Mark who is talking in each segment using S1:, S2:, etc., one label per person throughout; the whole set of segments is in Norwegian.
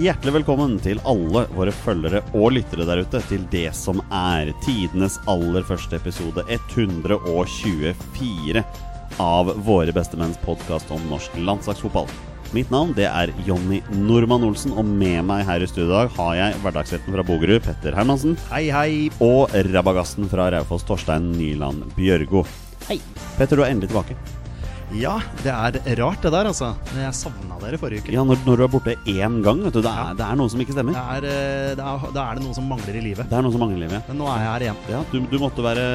S1: hjertelig velkommen til alle våre følgere og lyttere der ute til det som er tidenes aller første episode 124 av Våre bestemenns podkast om norsk landslagsfotball. Mitt navn det er Jonny Normann Olsen, og med meg her i studio i dag har jeg hverdagshelten fra Bogerud, Petter Hermansen.
S2: Hei, hei.
S1: Og rabagassen fra Raufoss, Torstein Nyland Bjørgo.
S2: Hei.
S1: Petter, du er endelig tilbake.
S2: Ja, det er rart det der, altså. Men Jeg savna dere forrige uke.
S1: Ja, når, når du er borte én gang, vet du, det er, det er noe som ikke
S2: Det
S1: stemmer.
S2: er, eh, det er, da er det noe som mangler i livet.
S1: Det er noe som mangler i livet.
S2: Men nå er jeg her igjen.
S1: Ja, du, du måtte være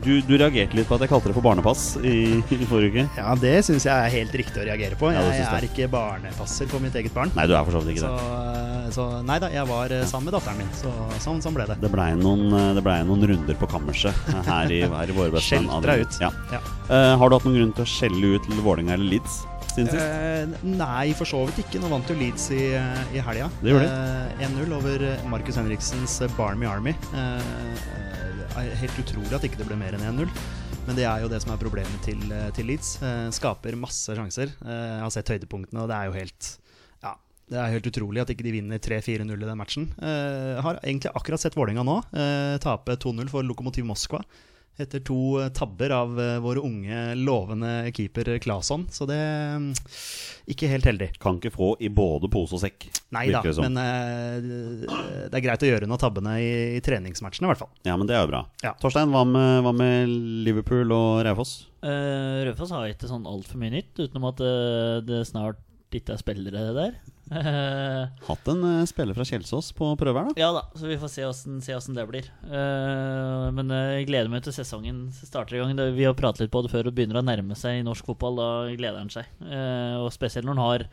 S1: du, du reagerte litt på at jeg kalte det for barnepass i, i forrige uke.
S2: Ja, det syns jeg er helt riktig å reagere på.
S1: Ja, det
S2: Jeg,
S1: synes
S2: er ikke barnepasser på mitt eget barn.
S1: Nei, du er for så vidt ikke
S2: Så,
S1: det.
S2: eh, så nei da, jeg var eh, sammen med datteren min. Så sånn, sånn ble det.
S1: Det blei noen, eh, det ble noen runder på kammerset her i, her i våre beste menn.
S2: Skjelt deg ut.
S1: Ja.
S2: Ja.
S1: Eh, har du hatt noen grunn til å skjelle ut Vålerenga eller Leeds siden sist?
S2: Eh, nei, for så vidt ikke. Nå vant jo Leeds i, eh, i helga.
S1: Det gjorde
S2: Eh, 1-0 over eh, Markus Henriksens eh, Barmy Army. Eh, eh, helt utrolig at ikke det ble mer enn 1-0. Men det er jo det som er problemet til, eh, til Leeds. Eh, skaper masse sjanser. Eh, jeg har sett høydepunktene, og det er jo helt ja, det er helt utrolig at ikke de vinner 3-4-0 i den matchen. Eh, har egentlig akkurat sett Vålerenga nå eh, tape 2-0 for Lokomotiv Moskva. Etter to eh, tabber av eh, våre unge, lovende keeper Claesson. Så det mm, Ikke helt heldig.
S1: Kan ikke få i både pose og sekk.
S2: Nei da,
S1: virker det som.
S2: men eh, det er greit å gjøre unna tabbene i, i treningsmatchene, i hvert fall.
S1: Ja, men det er jo bra.
S2: eh, Ja.
S1: Torstein, hva med, hva med Liverpool og Raufoss?
S3: Uh, Raufoss har ikke sånn altfor mye nytt, utenom at eh, det snart ikke er spillere der. Eh,
S1: Hatt en eh, spiller fra Kjelsås på prøve her, da.
S3: ja da, så vi får se åssen, se åssen det blir. Eh, men eh, jeg gleder meg til sesongen starter i gang. Det, vi har pratet litt på det før og begynner å nærme seg i norsk fotball. Da gleder han seg. Eh, og spesielt når han har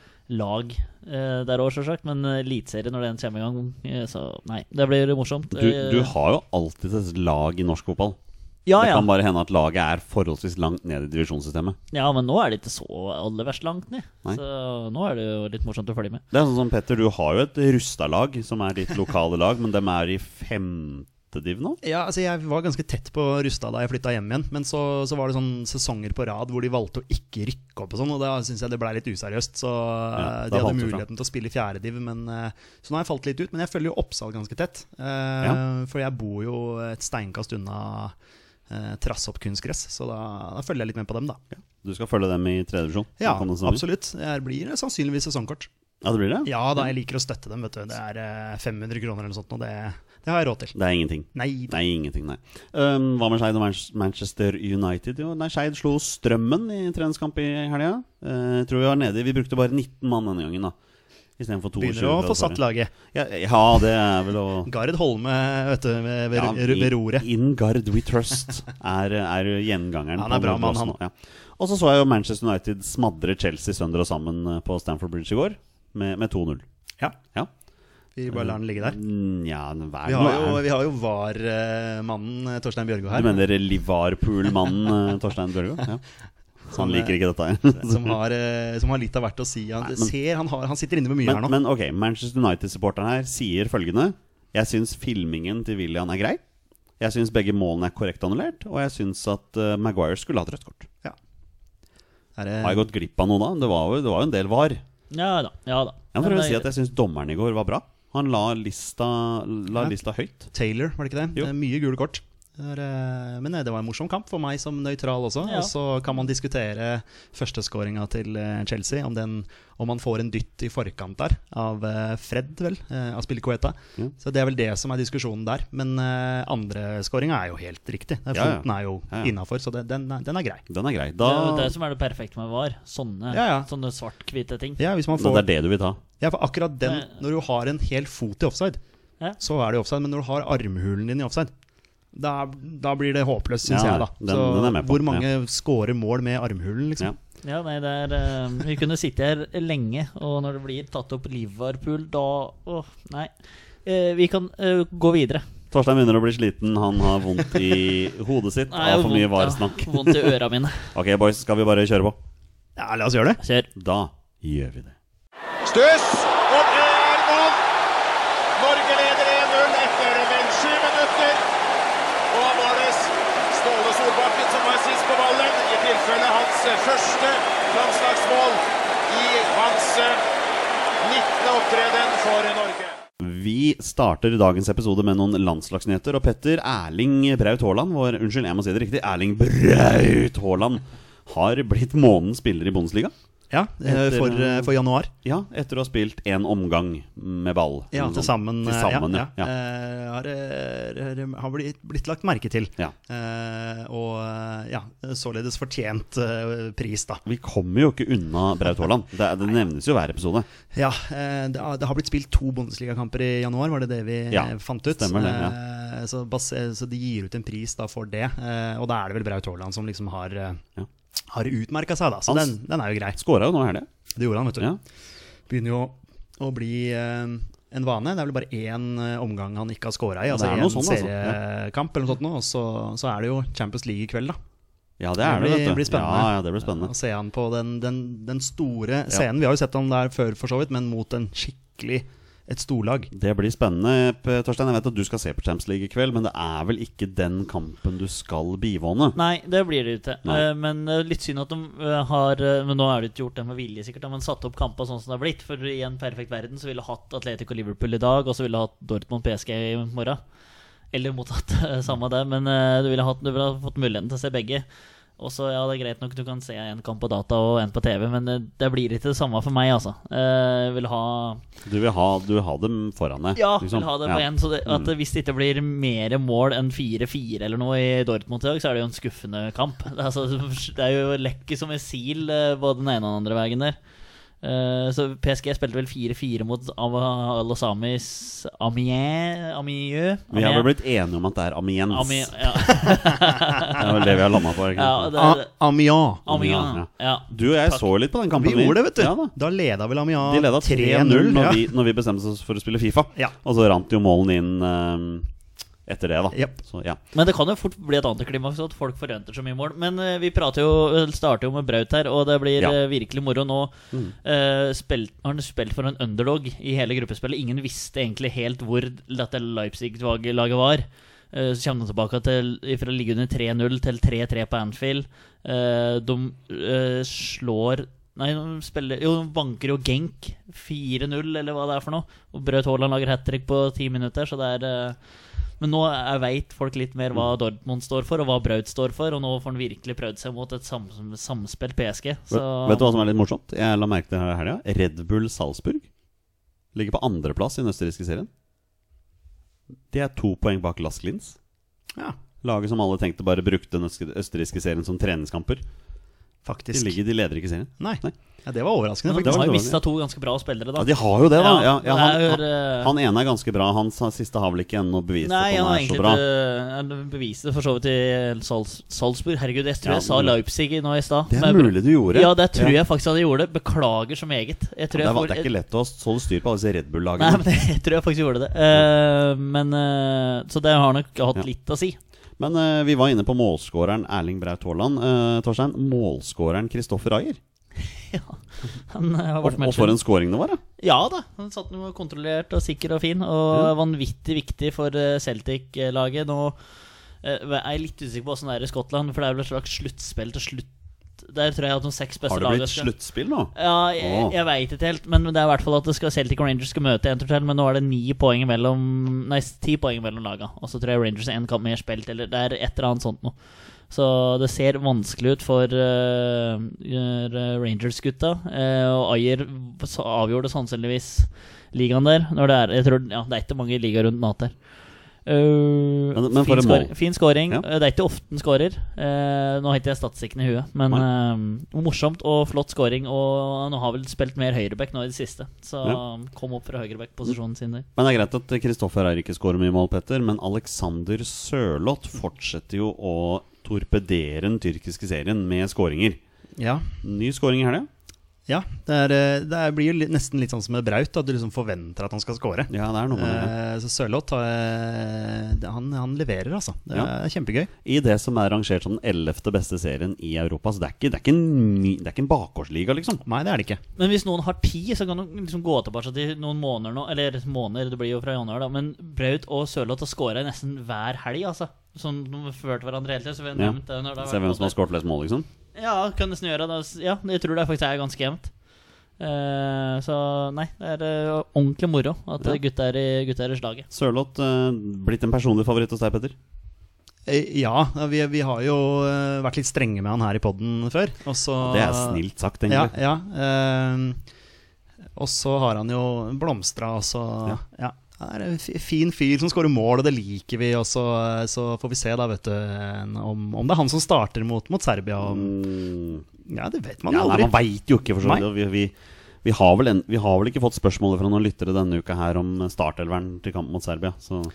S3: lag eh, der òg, sjølsagt. Men eh, eliteserie når den kommer i gang, eh, så nei. Det blir morsomt.
S1: Du,
S3: Eh,
S1: du har jo alltid et lag i norsk fotball.
S2: Ah,
S3: ja,
S1: Det
S3: ja.
S1: kan bare hende at laget er forholdsvis langt ned i divisjonssystemet.
S3: ja, men nå er det ikke så aller verst langt ned.
S1: Nei.
S3: Så nå er det jo litt morsomt å følge med.
S1: Det er sånn som Petter, du har jo et Rusta-lag, som er ditt lokale lag, men dem er i femte div nå?
S2: Ja, altså Jeg var ganske tett på Rusta da jeg flytta hjem igjen. Men så, så var det sånn sesonger på rad hvor de valgte å ikke rykke opp. Og sånn Og da syns jeg det blei litt useriøst. Så
S1: Ja,
S2: eh,
S1: da
S2: de hadde
S1: falt du fra.
S2: muligheten til å spille i fjerde div men, eh, Så nå har jeg falt litt ut. Men jeg følger jo Oppsal ganske tett. eh, For jeg bor jo et steinkast unna eh, Trassopp kunstgress. Så da, da følger jeg litt med på dem, da.
S1: Du skal følge dem i tredje divisjon?
S2: Ja,
S1: Kan det stemme?
S2: absolutt. Jeg blir sannsynligvis sesongkort.
S1: Ja, det blir det?
S2: Ja da, jeg liker å støtte dem, vet du. Det er eh, 500 kroner eller noe sånt, og det, det har jeg råd til.
S1: Det er ingenting.
S2: Nei,
S1: Nei, ingenting, nei. Um, hva med Skeid og Man- Manchester United? Jo, nei, Skeid slo Strømmen i treningskamp i helga. Eh, tror vi var nede i- Vi brukte bare 19 mann denne gangen, da. Istedenfor 22.
S2: begynner å
S1: fra
S2: få satt
S1: forrige.
S2: laget.
S1: altså. sånn, Ja, ja, det er vel å
S2: Gard Holme, vet du, ved, ved,
S1: i-
S2: ved roret.
S1: Ingard We Trust er, er gjengangeren.
S2: Han er
S1: på
S2: bra mann,
S1: Bråten også. Ja. Og så så jeg jo Manchester United smadre Chelsea sønder og sammen eh, på Stamford Bridge i går, med, med 2-0.
S2: Ja.
S1: Ja.
S2: Vi bare lar den ligge der.
S1: Nja, hva er
S2: Vi
S1: det
S2: har
S1: nå
S2: jo,
S1: er?
S2: vi har jo VAR-mannen eh, Torstein Bjørgo
S1: Du
S2: her,
S1: mener Livarpool-mannen eh, Torstein Børgo? Ja. Så han
S2: Som, eh,
S1: liker ikke dette her.
S2: som har, eh, som har litt av hvert å si. Han,
S1: Nei, men-
S2: ser, han, har, han sitter inne med mye
S1: Men,
S2: her nå.
S1: men ok, Manchester United-supporteren her sier følgende Jeg syns filmingen til William er grei. Jeg syns begge målene er korrekt annullert, og jeg syns at eh, Maguire skulle hatt rødt kort.
S2: Er det-
S1: Har jeg gått glipp av noe da? Det var jo, det var jo en del var.
S3: Ja da. ja da
S1: Jeg må
S3: Men eh,
S1: prøve å
S3: det-
S1: si at jeg syns dommeren i går var bra. Han la lista, la
S2: Ja.
S1: lista høyt.
S2: Taylor, var det ikke det?
S1: Jo.
S2: det er mye gule kort. Det er, eh, Men eh, det var en morsom kamp for meg som nøytral også.
S3: Ja.
S2: Og så kan man diskutere førsteskåringa til eh, Chelsea. Om, den, om man får en dytt i forkant der, av eh, Fred, vel. eh, Av Spillikoeta.
S1: Ja.
S2: Så det er vel det som er diskusjonen der. Men eh, andreskåringa er jo helt riktig. Det er-
S1: Ja, ja.
S2: Foten er jo
S1: Ja, ja.
S2: innafor, så det, den, er- den er grei.
S1: Den er grei.
S3: Det
S1: Da,
S3: er jo det som er det perfekte med VAR. Sånne,
S2: Ah. Ja, ja.
S3: sånne svart-hvite ting.
S2: Ja, hvis man
S1: det
S2: får,
S1: er det du vil ta.
S2: ja, for akkurat den,
S3: Nei.
S2: når du har en hel fot i offside,
S3: Ja.
S2: så er det jo offside. Men når du har armhulen din i offside, da, da blir det håpløst, syns
S1: Ja,
S2: jeg. da
S1: den- den er jeg med på,
S2: Hvor mange scorer mål med armhulen,
S1: Ja.
S2: liksom?
S3: Ja, nei, det er eh, Vi kunne sitte her lenge, og når det blir tatt opp Liverpool, da Åh, nei. Eh, vi kan eh, gå videre.
S1: Torstein begynner å bli sliten. Han har vondt i hodet sitt
S3: Nei,
S1: av for mye
S3: vondt, ja.
S1: varesnakk.
S3: Vondt i øra mine.
S1: Ok, boys, skal vi bare kjøre på?
S2: Ja. la oss gjøre det.
S3: Kjør.
S1: Da gjør vi det.
S4: Stuss! Og det er mål! Norge leder 1-0 etter vel sju minutter. Og da var det Ståle Solbakken som var sist på ballen, i tilfelle hans første landslagsmål i hans eh, 19. opptreden for Norge.
S1: Vi starter dagens episode med noen landslagsnyheter. Og Petter Erling Braut Haaland vår, Unnskyld, jeg må si det riktig. Erling Braut Haaland har blitt månedens spiller i Bundesliga.
S2: Ja, eh,
S1: Etter,
S2: for,
S1: eh,
S2: eh, for januar.
S1: Ja, etter å ha spilt én omgang med ball.
S2: Ja,
S1: Eller
S2: til sammen.
S1: sånn.
S2: eh,
S1: Til sammen,
S2: ja,
S1: ja. ja.
S2: Eh, har, eh, har blitt, blitt lagt merke til.
S1: ja.
S2: Eh, og eh, ja, således fortjent eh, pris, da.
S1: Vi kommer jo ikke unna Braut Haaland. Det, det nevnes jo hver episode.
S2: Ja, eh, det har- det har blitt spilt to Bundesligakamper i januar, var det det vi eh,
S1: Ja,
S2: fant ut?
S1: stemmer det, ja.
S2: Eh, Så, bas- eh, så de gir ut en pris da for det, eh, og da er det vel Braut Haaland som liksom har, eh,
S1: Ja.
S2: har utmerka seg, da. Så
S1: Hans-
S2: den, den er jo grei.
S1: Skåra jo nå i helga.
S2: Det gjorde han, vet du.
S1: Ja.
S2: Begynner jo å bli eh, en vane. Det er vel bare én eh, omgang han ikke har scora i, altså
S1: Det er
S2: én
S1: noe sånn, altså.
S2: seriekamp eller noe sånt, nå, og så, så er det jo Champions League i kveld, da.
S1: ja, det er det.
S2: blir-
S1: vet du.
S2: blir spennende. Altså.
S1: Ja, ja, det blir
S2: Å
S1: spennende.
S2: se han på den, den, den store scenen. Vi har jo sett han der før, for så vidt, men mot en skikkelig et storlag.
S1: Det blir spennende, P- Torstein. Jeg vet at du skal se på Champions League i kveld, men det er vel ikke den kampen du skal bivåne?
S3: Nei, det blir det ikke.
S1: Nei.
S3: Eh, Men eh, litt synd at de eh, har eh, Men nå er det ikke gjort det med vilje, sikkert, da, men satt opp kamper sånn som det har blitt. For i en perfekt verden så ville du hatt Atletico Liverpool i dag, og så ville du hatt Dortmund PSG i morgen. Eller motsatt, eh, samme det, men eh, du ville, hatt, du ville ha fått muligheten til å se begge. Og så, ja, det er greit nok du kan se en kamp på data og en på TV, men eh, det blir ikke det samme for meg, altså. Eh, Jeg vil ha
S1: Du vil ha, du vil ha dem foran deg?
S3: Ja,
S1: liksom.
S3: vil ha det på
S1: Ja. Mm.
S3: en, så det, at det- hvis det ikke blir mer mål enn 4-4 eller noe i Dortmund i dag, så er det jo en skuffende kamp. Det er, altså, det er jo lekket som en sil eh, både den ene og den andre veien der. Eh, så PSG spilte vel 4-4 mot Los Amis Amiens Amieux?
S1: Vi har vel blitt enige om at det er Amiens.
S3: Amiens, ja.
S1: Det er vel det vi har landa på. er det ikke
S3: ja,
S1: sant?
S3: det, er-
S2: Amiens.
S1: Ah. ja.
S3: Amiens, ja.
S1: Du og jeg så litt på den
S2: Vi
S1: kampen.
S2: gjorde det, vet du.
S1: Ja, da.
S2: da. leda vel Amiens
S1: De leda 3-0 når,
S2: ja.
S1: vi- når vi bestemte oss for å spille Fifa.
S2: Ja.
S1: Og så rant jo målene inn ehm, etter det, da.
S2: Japp.
S1: Så, ja.
S3: Men det kan jo fort bli et antiklimaks at folk forventer så mye mål. Men eh, vi prater jo, eller starter jo med Braut her, og det blir
S1: Ja.
S3: eh, virkelig moro nå. Eh, spilt, har han spilt for en underdog i hele gruppespillet? Ingen visste egentlig helt hvor dette Leipzig-laget var. Eh, Så kommer de tilbake til fra å ligge under 3-0 til 3-3 på Anfield. Eh, De eh, slår Nei, de spiller Jo, de banker jo Genk 4-0, eller hva det er for noe. Og Braut Haaland lager hat trick på ti minutter, så det er eh, Men nå er- vet folk litt mer hva Dortmund står for, og hva Braut står for, og nå får han virkelig prøvd seg mot et sam samspilt PSG. Så
S1: Vet vet du hva som er litt morsomt? Jeg la merke til det her i helga. Red Bull Salzburg ligger på andreplass i den østerrikske serien. De er to poeng bak Lask Linz.
S2: Ja,
S1: Laget som alle tenkte bare brukte den øst- østerrikske serien som treningskamper. De,
S2: faktisk.
S1: ligger, de leder ikke serien.
S2: Nei.
S1: Nei.
S2: Ja, det var overraskende,
S3: Men
S1: det
S3: de
S1: var
S2: faktisk.
S3: har jo
S1: dårlig.
S3: mista to ganske bra spillere, da.
S1: Ja, de har jo det, da. Ja, ja, han,
S3: det er,
S1: han,
S3: eh,
S1: han ene er ganske bra. Han sa- siste har vel ikke ennå bevist
S3: Nei,
S1: at han
S3: han har
S1: er så
S3: egentlig
S1: bra.
S3: ikke eh, han beviste det for så vidt i Salz, Salzburg. Herregud, jeg tror
S1: Ja,
S3: jeg sa
S1: men-
S3: Leipzig nå i stad.
S1: Det
S3: Men-
S1: er mulig du gjorde.
S3: Ja, det tror
S1: Ja.
S3: jeg faktisk at jeg gjorde. Beklager så meget. Jeg tror
S1: Det,
S3: jeg
S1: var,
S3: får-
S1: det er ikke lett å holde styr på alle disse Red
S3: Nei,
S1: Bull-lagene.
S3: men jeg tror jeg faktisk gjorde det. Eh, men eh, Så det har nok hatt
S1: Ja.
S3: litt å si.
S1: Men eh, vi var inne på målskåreren Erling Braut Haaland. Eh, Torstein, målskåreren Kristoffer Ayer.
S3: Han eh, har
S1: Og,
S3: vært med
S1: og for en skåring det var, da.
S3: Ja da. Han satt noe kontrollert og sikker og fin, og vanvittig viktig for eh, Celtic-laget. Nå eh, er jeg litt usikker på åssen det er i Skottland, for det er vel et slags sluttspill til slutt. Der tror jeg at de seks beste
S1: Har det
S3: lagene
S1: blitt
S3: skal-
S1: sluttspill nå?
S3: Ja, jeg,
S1: Åh.
S3: jeg veit ikke helt, men det er i hvert fall at det skal Celtic og Rangers skal møte en tur til. Men nå er det ni poeng mellom Nei, ti poeng mellom laga. Og så tror jeg Rangers er en kamp mer spilt, eller det er et eller annet sånt noe. Så det ser vanskelig ut for eh, eh, Rangers-gutta. eh, og Ayer s- avgjorde sannsynligvis ligaen der. Når det er, jeg tror, ja, det er ikke mange ligaer rundt mat der. Eh,
S1: Men- men for
S3: fin,
S1: en
S3: skår-
S1: mål.
S3: fin scoring.
S1: Ja.
S3: Eh, Det er ikke ofte han scorer. Eh, nå har ikke jeg statistikken i huet, men eh, morsomt og flott scoring. Og han har vel spilt mer høyreback nå i det siste, så
S1: Ja.
S3: kom opp fra høyreback-posisjonen sin der.
S1: Men det er greit at Kristoffer Ayer ikke skårer mye mål, Petter. Men Alexander Sørloth fortsetter jo å torpedere den tyrkiske serien med skåringer.
S2: Ja.
S1: Ny skåring i helga.
S2: ja. Det, er, eh, det er- blir jo li- nesten litt sånn som med Braut, at du liksom forventer at han skal score.
S1: Ja, det er noe med det.
S2: Eh, Så Sørloth, eh, det- han, han leverer, altså. Det er
S1: Ja.
S2: kjempegøy.
S1: Eh, I det som er rangert som den ellevte beste serien i Europa. Så det er ikke, det er ikke, en, ny- det er ikke en bakgårdsliga, liksom.
S2: Nei, det er det ikke.
S3: Men hvis noen har tid, så kan de liksom gå tilbake til noen måneder nå. Eller måneder, det blir jo fra januar, da. Men Braut og Sørloth har scora nesten hver helg, altså. Sånn de førte hverandre hele tida. Så vi har
S1: Ja.
S3: nevnt det når det har
S1: Se
S3: vært
S1: hvem som
S3: måneder.
S1: har skåret flest mål, liksom.
S3: Altså, Ja, kan nesten gjøre det. Ja, jeg tror det faktisk er ganske jevnt. Eh, så nei, det er eh, ordentlig moro at
S1: Ja.
S3: eh, gutta er i, gutta er i slaget.
S1: Sørloth eh, blitt en personlig favoritt hos deg, Petter?
S2: Eh, Ja, vi, vi har jo eh, vært litt strenge med han her i poden før. og så-
S1: Det er snilt sagt,
S2: Ja,
S1: egentlig.
S2: ja ehm, Og så har han jo blomstra, og så
S1: Ja.
S2: ja. Han er en fi- fin fyr som skårer mål, og det liker vi. Og så, eh, så får vi se, da, vet du, en- om, om det er han som starter mot, mot Serbia. Om,
S1: Mm.
S2: ja, det vet man
S1: Ja,
S2: jo
S1: nei,
S2: aldri.
S1: man veit jo ikke, for så
S2: Nei.
S1: vidt. og Vi, vi, vi, har vel en, vi har vel ikke fått spørsmålet fra noen lyttere denne uka her om startelveren til kamp mot Serbia. Så nei,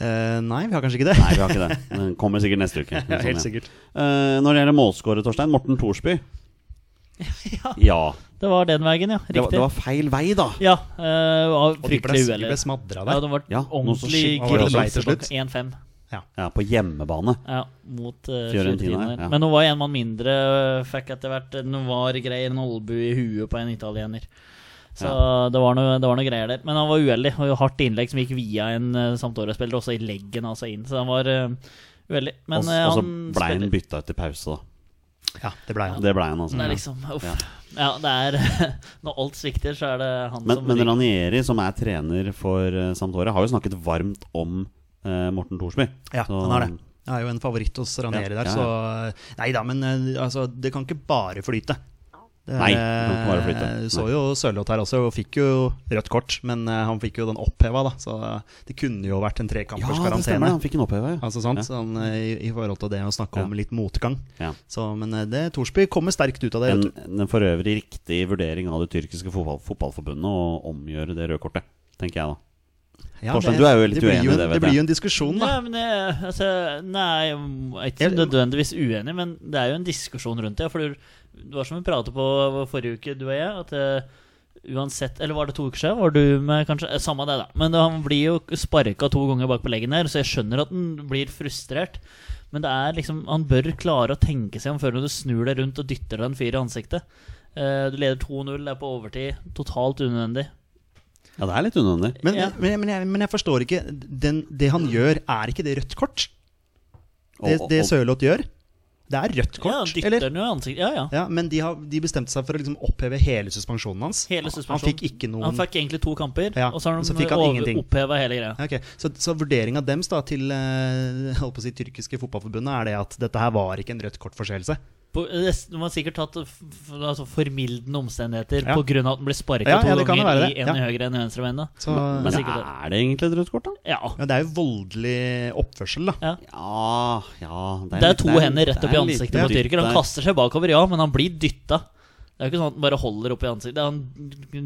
S2: Eh, nei, vi har kanskje ikke det.
S1: vi har ikke det. Den kommer sikkert neste uke.
S2: Ja,
S1: Sånn, ja.
S2: helt sikkert.
S1: Eh, når det gjelder målskårer, Torstein, Morten Thorsby.
S3: ja,
S1: Ja.
S3: det var den veien, ja.
S1: Det var,
S3: Riktig.
S1: det var feil vei, da.
S3: ja, eh, var
S2: Og de ble, de
S3: fryktelig
S2: ble
S3: uheldig.
S2: smadra
S3: Ja,
S2: der.
S3: det var
S1: Ja, noe så
S3: ordentlig
S1: skikkelig
S2: Hva var det det ble til
S3: krise klokka
S2: slutt?
S3: 1-5.
S1: Ja, på hjemmebane.
S3: Ja, mot eh,
S1: Fiorentina,
S3: Fiorentina. der.
S1: ja.
S3: Men nå var en mann mindre, eh, fikk etter hvert noe var greier, en olbu i huet på en italiener. Så det, var noe, det var noe greier der. Men han var uheldig. og Hardt innlegg som gikk via en uh, Sampdoria-spiller, også i leggen, altså inn. Så han var eh, uheldig. Men
S1: Og s-
S3: eh,
S1: og så
S3: han
S1: blei han
S3: spiller.
S1: bytta ut til pause, da.
S2: Ja, det ble han.
S1: Det blei han, altså.
S3: Det er liksom Uff.
S1: Ja.
S3: Ja, det er Når alt svikter, så er det han
S1: Men,
S3: som
S1: men
S3: ryker.
S1: Ranieri, som er trener for eh, Sampdoria, har jo snakket varmt om eh, Morten Thorsby.
S2: Ja,
S1: Så-
S2: han har det. Jeg er jo en favoritt hos Ranieri
S1: Ja,
S2: der,
S1: ja,
S2: så Nei da, men eh, altså, det kan ikke bare flyte. Det,
S1: Nei, det kan ikke bare flyte.
S2: eh,
S1: Nei.
S2: Så jo Sørloth her også, og fikk jo rødt kort, men eh, han fikk jo den oppheva, da. Så eh, det kunne jo vært en
S1: Ja,
S2: trekampers
S1: det stemmer.
S2: karantene.
S1: Han fikk en oppheva, ja.
S2: Altså sant,
S1: Ja.
S2: sånn, eh, i, I forhold til det å snakke om
S1: Ja.
S2: litt motgang.
S1: ja.
S2: Så, men eh, det, Thorsby kommer sterkt ut av det.
S1: En,
S2: vet du.
S1: en for øvrig riktig vurdering av det tyrkiske fotball, fotballforbundet å omgjøre det røde kortet, tenker jeg da.
S2: Ja,
S1: Torstein, du
S2: det-
S1: er jo litt
S2: blir
S1: uenig i
S2: jo en-
S1: det, vet
S2: Det blir
S1: jeg.
S2: jo en diskusjon, da.
S3: Nei, men jeg, altså, nei, jeg er ikke
S2: Jeg-
S3: nødvendigvis uenig, men det er jo en diskusjon rundt det. For du, det var som vi pratet på forrige uke, du og jeg, at eh, uansett Eller var det to uker siden? Var du med, kanskje? Eh, Samme det, da. Men han blir jo sparka to ganger bak på leggen her, så jeg skjønner at han blir frustrert. Men det er liksom, han bør klare å tenke seg om før du snur deg rundt og dytter deg en fyr i ansiktet. Eh, Du leder 2-0, det er på overtid. Totalt unødvendig.
S1: Ja, det er litt unødvendig.
S2: Men,
S3: Ja.
S2: men, men, jeg, men jeg forstår ikke den, Det han gjør, er ikke det rødt kort? Det,
S1: Og-
S2: det
S1: og-
S2: Sørloth gjør? Det er rødt
S3: ja,
S2: kort,
S3: han dytter
S2: eller?
S3: den jo i ansiktet. Ja, ja.
S2: Ja, men de, har, de bestemte seg for å liksom oppheve hele suspensjonen hans.
S3: Hele
S2: Han
S3: suspensjonen.
S2: fikk ikke noen
S3: Han fikk egentlig to kamper,
S2: Ja,
S3: og så har
S2: og så
S3: de
S2: fikk han ingenting.
S3: oppheva hele greia.
S2: Ja, ok. Så, så vurderinga deres da, til eh, jeg holdt på å si, tyrkiske fotballforbundet er det at dette her var ikke en rødt kort-forseelse?
S3: På, det- eh, de har sikkert tatt f- f- altså formildende omstendigheter
S2: Ja.
S3: På grunn av at den ble sparka
S2: Ja,
S3: to
S2: ja, det kan jo
S3: ganger
S2: være
S3: i
S2: det.
S3: en i
S2: Ja.
S3: høyre enn i venstre bein. da.
S2: Så
S1: Men
S3: det er sikkert
S1: er det egentlig et rødt kort, da?
S3: Ja.
S2: ja, det er jo voldelig oppførsel, da.
S3: Ja.
S1: Ja, ja
S3: Det er,
S1: litt-
S3: to
S1: litt-
S3: hender
S1: det
S3: rett
S1: er
S3: opp i
S1: litt
S3: ansiktet på
S1: dytt
S3: tyrker. Han
S1: der.
S3: kaster seg bakover, ja, men han blir dytta. Det er jo ikke sånn at han bare holder opp i ansiktet. Han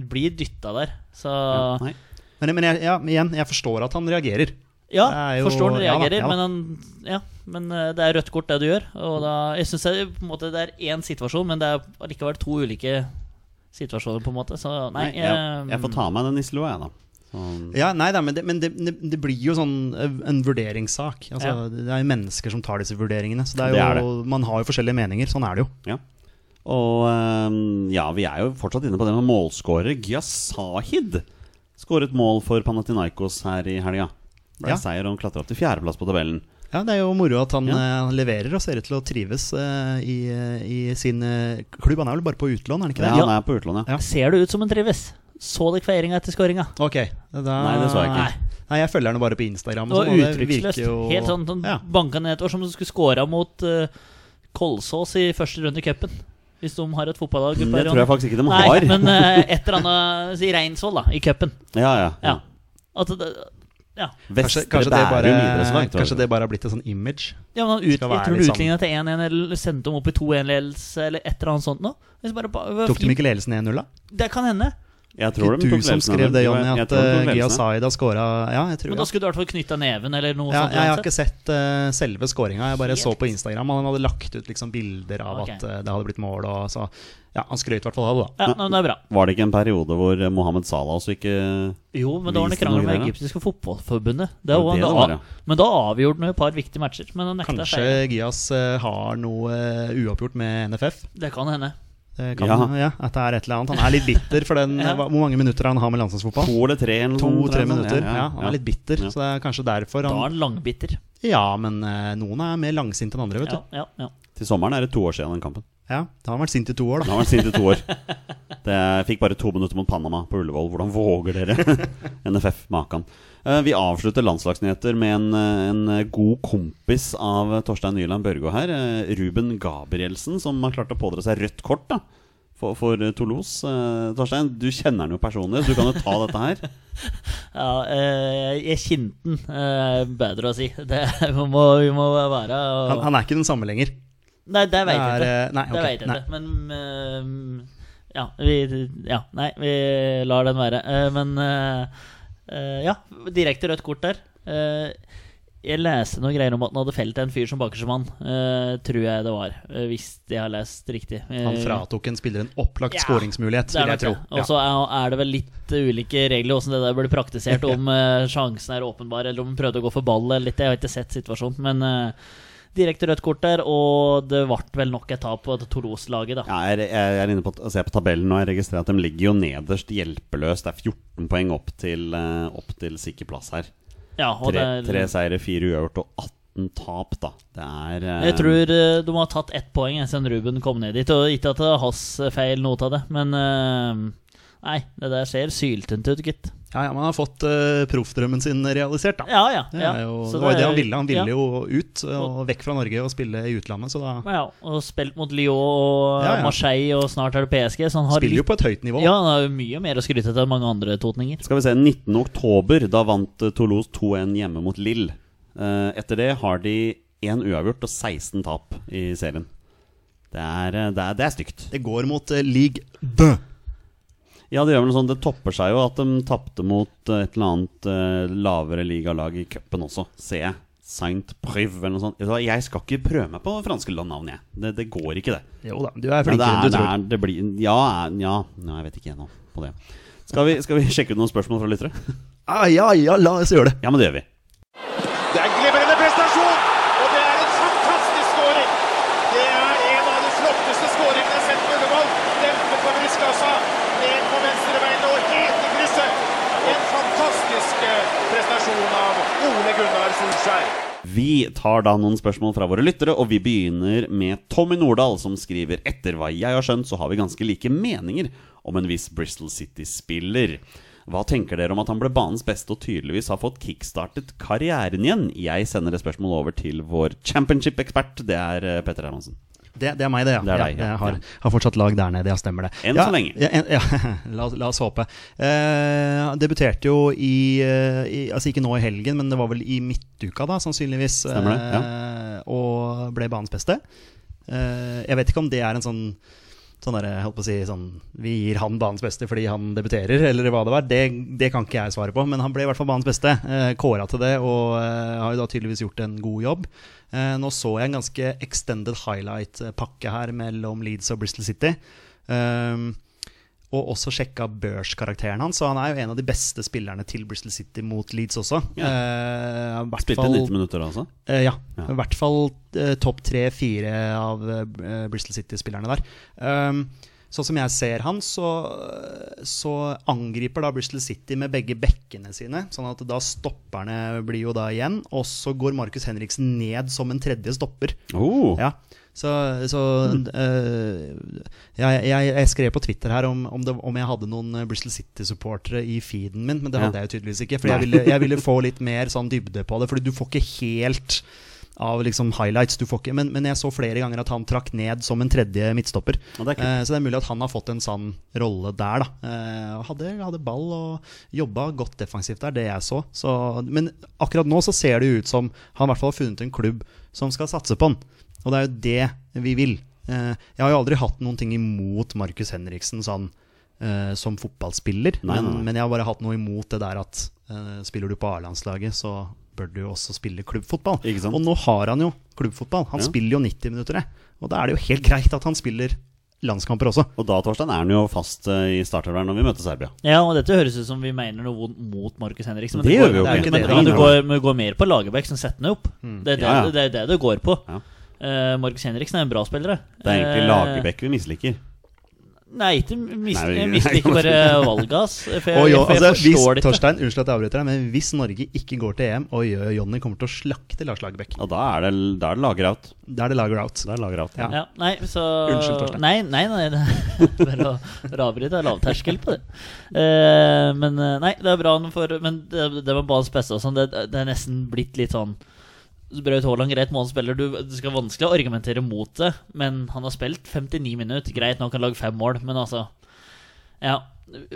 S3: blir dytta der. Så
S1: Ja, nei.
S2: Men, men jeg, ja, men igjen, jeg forstår at han reagerer.
S3: Ja,
S2: Det er jo-
S3: forstår han
S2: ja da,
S3: reagerer,
S2: ja da.
S3: men han Ja, men eh, det er rødt kort, det du gjør. Og da Jeg syns det, er på en måte, det er én situasjon, men det er allikevel to ulike situasjoner, på en måte. Så nei.
S1: Nei, jeg,
S3: eh,
S1: jeg får ta meg den nisselua, jeg, da. Sånn.
S2: Ja, nei da, men det, men det, det, det blir jo sånn eh, en vurderingssak. Altså,
S3: Ja.
S2: Det er jo mennesker som tar disse vurderingene. Så det er jo,
S1: Det er
S2: man har jo forskjellige meninger. Sånn er det jo.
S1: Ja. Og ehm, ja, vi er jo fortsatt inne på det med målskårer. Gyasahid skåret mål for Panathinaikos her i helga. Ble
S2: Ja.
S1: seier og klatra opp til fjerdeplass på tabellen.
S2: Ja, Det er jo moro at han
S1: Ja.
S2: eh, leverer og ser ut til å trives eh, i, i sin eh, klubb. Han er vel bare på utlån, er han ikke det?
S1: Ja, han er på utlånet.
S2: Ja.
S3: Ser det ut som hun trives? Så dere feiringa etter skåringa?
S2: Ok, da,
S1: Nei, det så jeg ikke.
S3: Nei,
S2: Ah. Nei, jeg følger henne bare på Instagram.
S3: det var
S2: og sånn, og det
S3: uttrykksløst.
S2: virker jo-
S3: Helt sånn, sånn
S2: ja.
S3: banka ned et år som om du skulle skåra mot eh, Kolsås i første runde i cupen. Hvis de har et fotballag
S1: Det tror jeg faktisk ikke de
S3: Nei,
S1: har.
S3: men eh, et eller annet i Reinsvoll, da, i cupen.
S1: ja, ja, ja.
S3: Ja. At det- ja.
S1: Vestre
S2: Kanskje, kanskje, det bare,
S1: Bærum idrettslag, tror jeg.
S2: kanskje det bare har blitt et sånn image.
S3: ja, men han ut, jeg
S2: Skal være liksom-
S3: tror du
S2: litt
S3: utligna til 1-1, eller sendte dem opp i 2-1-ledelse, eller et eller annet sånt noe. Hvis bare, ba- det var
S2: Tok de
S3: fint.
S2: Mikkel Elesen 1-0, da?
S3: Det kan hende.
S1: Jeg tror
S2: Ikke
S1: de tok
S2: du som
S1: ledelsen,
S2: skrev det,
S1: jo, jeg-
S2: Jonny,
S1: jeg
S2: at
S1: tror de tok
S2: eh, Gia
S1: ledelsen.
S2: Said har scora Ja, jeg tror
S3: Men
S2: ja.
S3: da skulle du i hvert fall knytta neven, eller noe
S2: Ja,
S3: sånt.
S2: jeg har
S3: uansett.
S2: ikke sett eh, selve scoringa. Jeg bare
S3: Helt.
S2: så på Instagram. Han hadde lagt ut liksom bilder av
S3: Ok.
S2: at eh, det hadde blitt mål. Og så, ja, han skrøt i hvert fall av det, da.
S3: ja, nei, men det er bra.
S1: Var det ikke en periode hvor eh, Mohammed Salah også eh, ikke
S3: Jo, men da var det
S1: Viste
S3: krangel
S1: noe greier,
S3: med
S1: da.
S3: egyptiske fotballforbundet. Det
S1: Ja,
S3: var,
S1: det
S3: da,
S1: var det.
S3: Men da avgjorde han jo et par viktige matcher. Men han nekta
S2: Kanskje
S3: seier.
S2: Gias eh, har noe eh, uoppgjort med NFF.
S3: Det kan hende.
S2: Det kan,
S1: Ja.
S2: ja. At det er et eller annet. Han er litt bitter for den, eh,
S3: Ja.
S2: hva- hvor mange minutter han har med landslagsfotball.
S1: To eller tre? eller noe sånt,
S2: To-tre
S1: tror jeg, sånn.
S2: minutter. Ja, han er litt bitter,
S1: Ja.
S2: så det er kanskje derfor
S3: Da er
S2: han
S3: han langbitter.
S2: Ja, men eh, noen er mer langsinte enn andre, vet
S3: Ja,
S2: du.
S3: ja, ja.
S1: Til sommeren er det to år siden den kampen.
S2: Ja, Da har han vært sint i to år,
S1: Han
S2: da.
S1: har vært sint i to år. Det jeg fikk bare to minutter mot Panama på Ullevål. Hvordan våger dere? NFF, makan. Eh, Vi avslutter landslagsnyheter med en, eh, en god kompis av Torstein Nyland Børgo her. eh, Ruben Gabrielsen, som har klart å pådra seg rødt kort da for, for Toulouse. Eh, Torstein, du kjenner han jo personlig. Du kan jo ta dette her.
S3: Ja, eh, jeg kjente den, eh, bedre å si. Det, vi, må, vi må være
S2: Han, han er ikke den samme lenger.
S3: Nei, det veit jeg
S2: Det
S3: ikke.
S2: er, eh, nei,
S3: Det
S2: ok,
S3: vet jeg
S2: nei.
S3: ikke. Men eh, ja, vi, ja. Nei, vi lar den være. Eh, men eh, eh, ja, direkte rødt kort der. Eh, jeg leste noen greier om at han hadde felt en fyr som bakersemann. Uh, tror jeg det var, eh, hvis jeg har lest riktig.
S2: Han
S3: Eh,
S2: fratok en spiller en opplagt
S3: Ja,
S2: skåringsmulighet,
S3: det er
S2: vil jeg
S3: nok
S2: tro.
S3: det. Og så er- er det vel litt ulike regler hvordan det der blir praktisert, om eh, sjansen er åpenbar, eller om han prøvde å gå for ball eller litt. Jeg har ikke sett situasjonen, men eh, direkte rødt kort der, og det ble vel nok et tap på Toulouse-laget, da.
S1: Ja, jeg, jeg jeg er inne på, å se på tabellen, og jeg registrerer at de ligger jo nederst hjelpeløst. Det er 14 poeng opp til, eh, opp til sikker plass her.
S3: Ja, og
S1: Tre,
S3: det
S1: tre
S3: er,
S1: seire, fire uavgjort og 18 tap, da. Det er eh,
S3: jeg tror eh, de har tatt ett poeng eh, siden Ruben kom ned dit. Og ikke at det er hans eh, feil, noe av det, men eh, Nei, det der ser syltynt ut, gitt.
S2: Ja, ja, Man har fått eh, proffdrømmen sin realisert, da.
S3: Ja, ja.
S2: Det,
S3: ja.
S2: er jo,
S3: Så
S2: det var jo det
S3: er-
S2: han ville. Han
S3: ja.
S2: ville jo ut og vekk fra Norge og spille i utlandet. Så da
S3: Ja, og spilt mot Lyon og eh,
S2: Ja, ja.
S3: Marseille, og snart er det PSG. Så han har
S2: spiller jo på et høyt nivå.
S3: Ja, han har jo mye mer å skryte til enn mange andre totninger.
S1: Skal vi se, 19. oktober, da vant eh, Toulouse 2-1 hjemme mot Lill. etter det har de én uavgjort og 16 tap i serien. Det er, eh, det, er, det er stygt.
S2: Det går mot eh, league D.
S1: Ja, det gjør vel noe sånn, det topper seg jo at de tapte mot eh, et eller annet eh, lavere ligalag i cupen også, ser jeg. Saint-Prive eller noe sånt. Vet du hva, Jeg skal ikke prøve meg på franske landnavn, jeg. Det, det går ikke, det.
S2: Jo da, du er
S1: Ja, det
S2: flinkere
S1: er,
S2: enn du
S1: det
S2: tror.
S1: er, det blir, ja, er- ja, Nei, jeg vet ikke ennå på det. Skal vi, skal vi sjekke ut noen spørsmål fra lyttere?
S2: Ah, ja, ja, la oss gjøre det.
S1: Ja, men det gjør vi.
S4: Det er en glimrende prestasjon, og det er en fantastisk scoring. Det er en av de flotteste scoringene jeg har sett på Ullevål. Dempe på brystkassa, ned på venstrebeinet og helt i krysset. En fantastisk eh, prestasjon av Ole Gunnar Solskjær.
S1: Vi tar da noen spørsmål fra våre lyttere, og vi begynner med Tommy Nordahl, som skriver etter hva jeg har skjønt, så har vi ganske like meninger om en viss Bristol City-spiller. Hva tenker dere om at han ble banens beste og tydeligvis har fått kickstartet karrieren igjen? Jeg sender et spørsmål over til vår championship-ekspert, det er eh, Petter Hermansen.
S2: Det, det er meg, det, ja.
S1: Det er
S2: Ja,
S1: deg, ja.
S2: Jeg har, har fortsatt lag der nede, ja, stemmer det.
S1: Enn
S2: ja,
S1: så lenge.
S2: Ja, en, ja, la, oss- la oss håpe. Eh, han debuterte jo i, eh, i Altså ikke nå i helgen, men det var vel i midtuka, da, sannsynligvis.
S1: Stemmer det,
S2: eh, og ble banens beste. Eh, jeg vet ikke om det er en sånn Sånn der, jeg holdt på å si sånn, Vi gir han banens beste fordi han debuterer, eller hva det var. Det, det kan ikke jeg svare på, men han ble i hvert fall banens beste. Eh, Kåra til det, og eh, har jo da tydeligvis gjort en god jobb. Eh, nå så jeg en ganske extended highlight-pakke her mellom Leeds og Bristol City. Um, og også sjekka børskarakteren hans, så han er jo en av de beste spillerne til Bristol City mot Leeds også. Eh, i hvert
S1: Spilte
S2: fall-
S1: 90 minutter, altså?
S2: Eh, ja.
S1: Ja.
S2: I hvert fall eh, topp tre-fire av eh, Bristol City-spillerne der. Um, sånn som jeg ser han, så, så angriper da Bristol City med begge bekkene sine. Sånn at da stopperne blir jo da igjen, og så går Markus Henriksen ned som en tredje stopper.
S1: Oh,
S2: Ja. Så, så
S1: Mm.
S2: eh, jeg, jeg, jeg skrev på Twitter her om, om, det, om jeg hadde noen eh, Bristol City-supportere i feeden min, men det
S1: Ja.
S2: hadde jeg jo tydeligvis ikke. For jeg ville, jeg ville få litt mer sånn dybde på det, Fordi du får ikke helt av liksom highlights. Du får ikke, men, men jeg så flere ganger at han trakk ned som en tredje midtstopper.
S1: Ja, det er kult.
S2: Eh, så det er mulig at han har fått en sann rolle der, da. Eh, og hadde, hadde ball og jobba godt defensivt der, det jeg så. så. Men akkurat nå så ser det jo ut som han i hvert fall har funnet en klubb som skal satse på han. Og det er jo det vi vil. Eh, jeg har jo aldri hatt noen ting imot Markus Henriksen sånn eh, som fotballspiller,
S1: Nei,
S2: men,
S1: nei, nei.
S2: men jeg har bare hatt noe imot det der at eh, spiller du på A-landslaget, så bør du jo også spille klubbfotball.
S1: Ikke sant?
S2: Og nå har han jo klubbfotball. Han
S1: Ja.
S2: spiller jo 90 minutter, jeg. Og da er det jo helt greit at han spiller landskamper også.
S1: og da, Torstein, er han jo fast eh, i startervern når vi møter Serbia.
S3: Ja, og dette høres ut som vi mener noe vondt mot Markus Henriksen.
S1: Det
S3: går-
S1: gjør vi jo
S3: men-
S2: ikke.
S3: Men,
S2: Det er
S3: men
S2: ikke
S3: det
S1: det.
S3: går, men det går mer på Lagerbäck som setter den opp.
S2: Mm.
S3: Det er det,
S1: Ja, ja.
S3: det er det det går på.
S1: Ja.
S3: Eh, Markus Henriksen er en bra spiller.
S1: Det er egentlig
S3: Eh,
S1: Lagerbäck vi misliker.
S3: Nei, ikke mis,
S1: Nei,
S3: jeg
S1: nei,
S3: mister ikke
S1: nei.
S3: bare valget, ass. For jeg,
S2: Og jo,
S3: for Eh, jeg
S2: altså, hvis,
S3: forstår det ikke.
S2: Torstein, unnskyld at jeg avbryter deg, men hvis Norge ikke går til EM, oi, oi, oi, Jonny kommer til å slakte Lars Lagerbäck.
S1: Og da er det, da er det lager out.
S2: Da er det lager out.
S1: Da er det lager out.
S2: Ja.
S3: Ja, nei, så
S2: Unnskyld, Torstein.
S3: Nei, nei, nei, det bare å bare avbryte. Det er lavterskel på det. Eh, men eh, nei, det er bra han får Men det, det med banens beste og sånn, det, det er nesten blitt litt sånn Braut Haaland, greit, målspiller. Du, det skal vanskelig å argumentere mot det, men han har spilt 59 minutter. Greit, nå kan han lage fem mål, men altså Ja.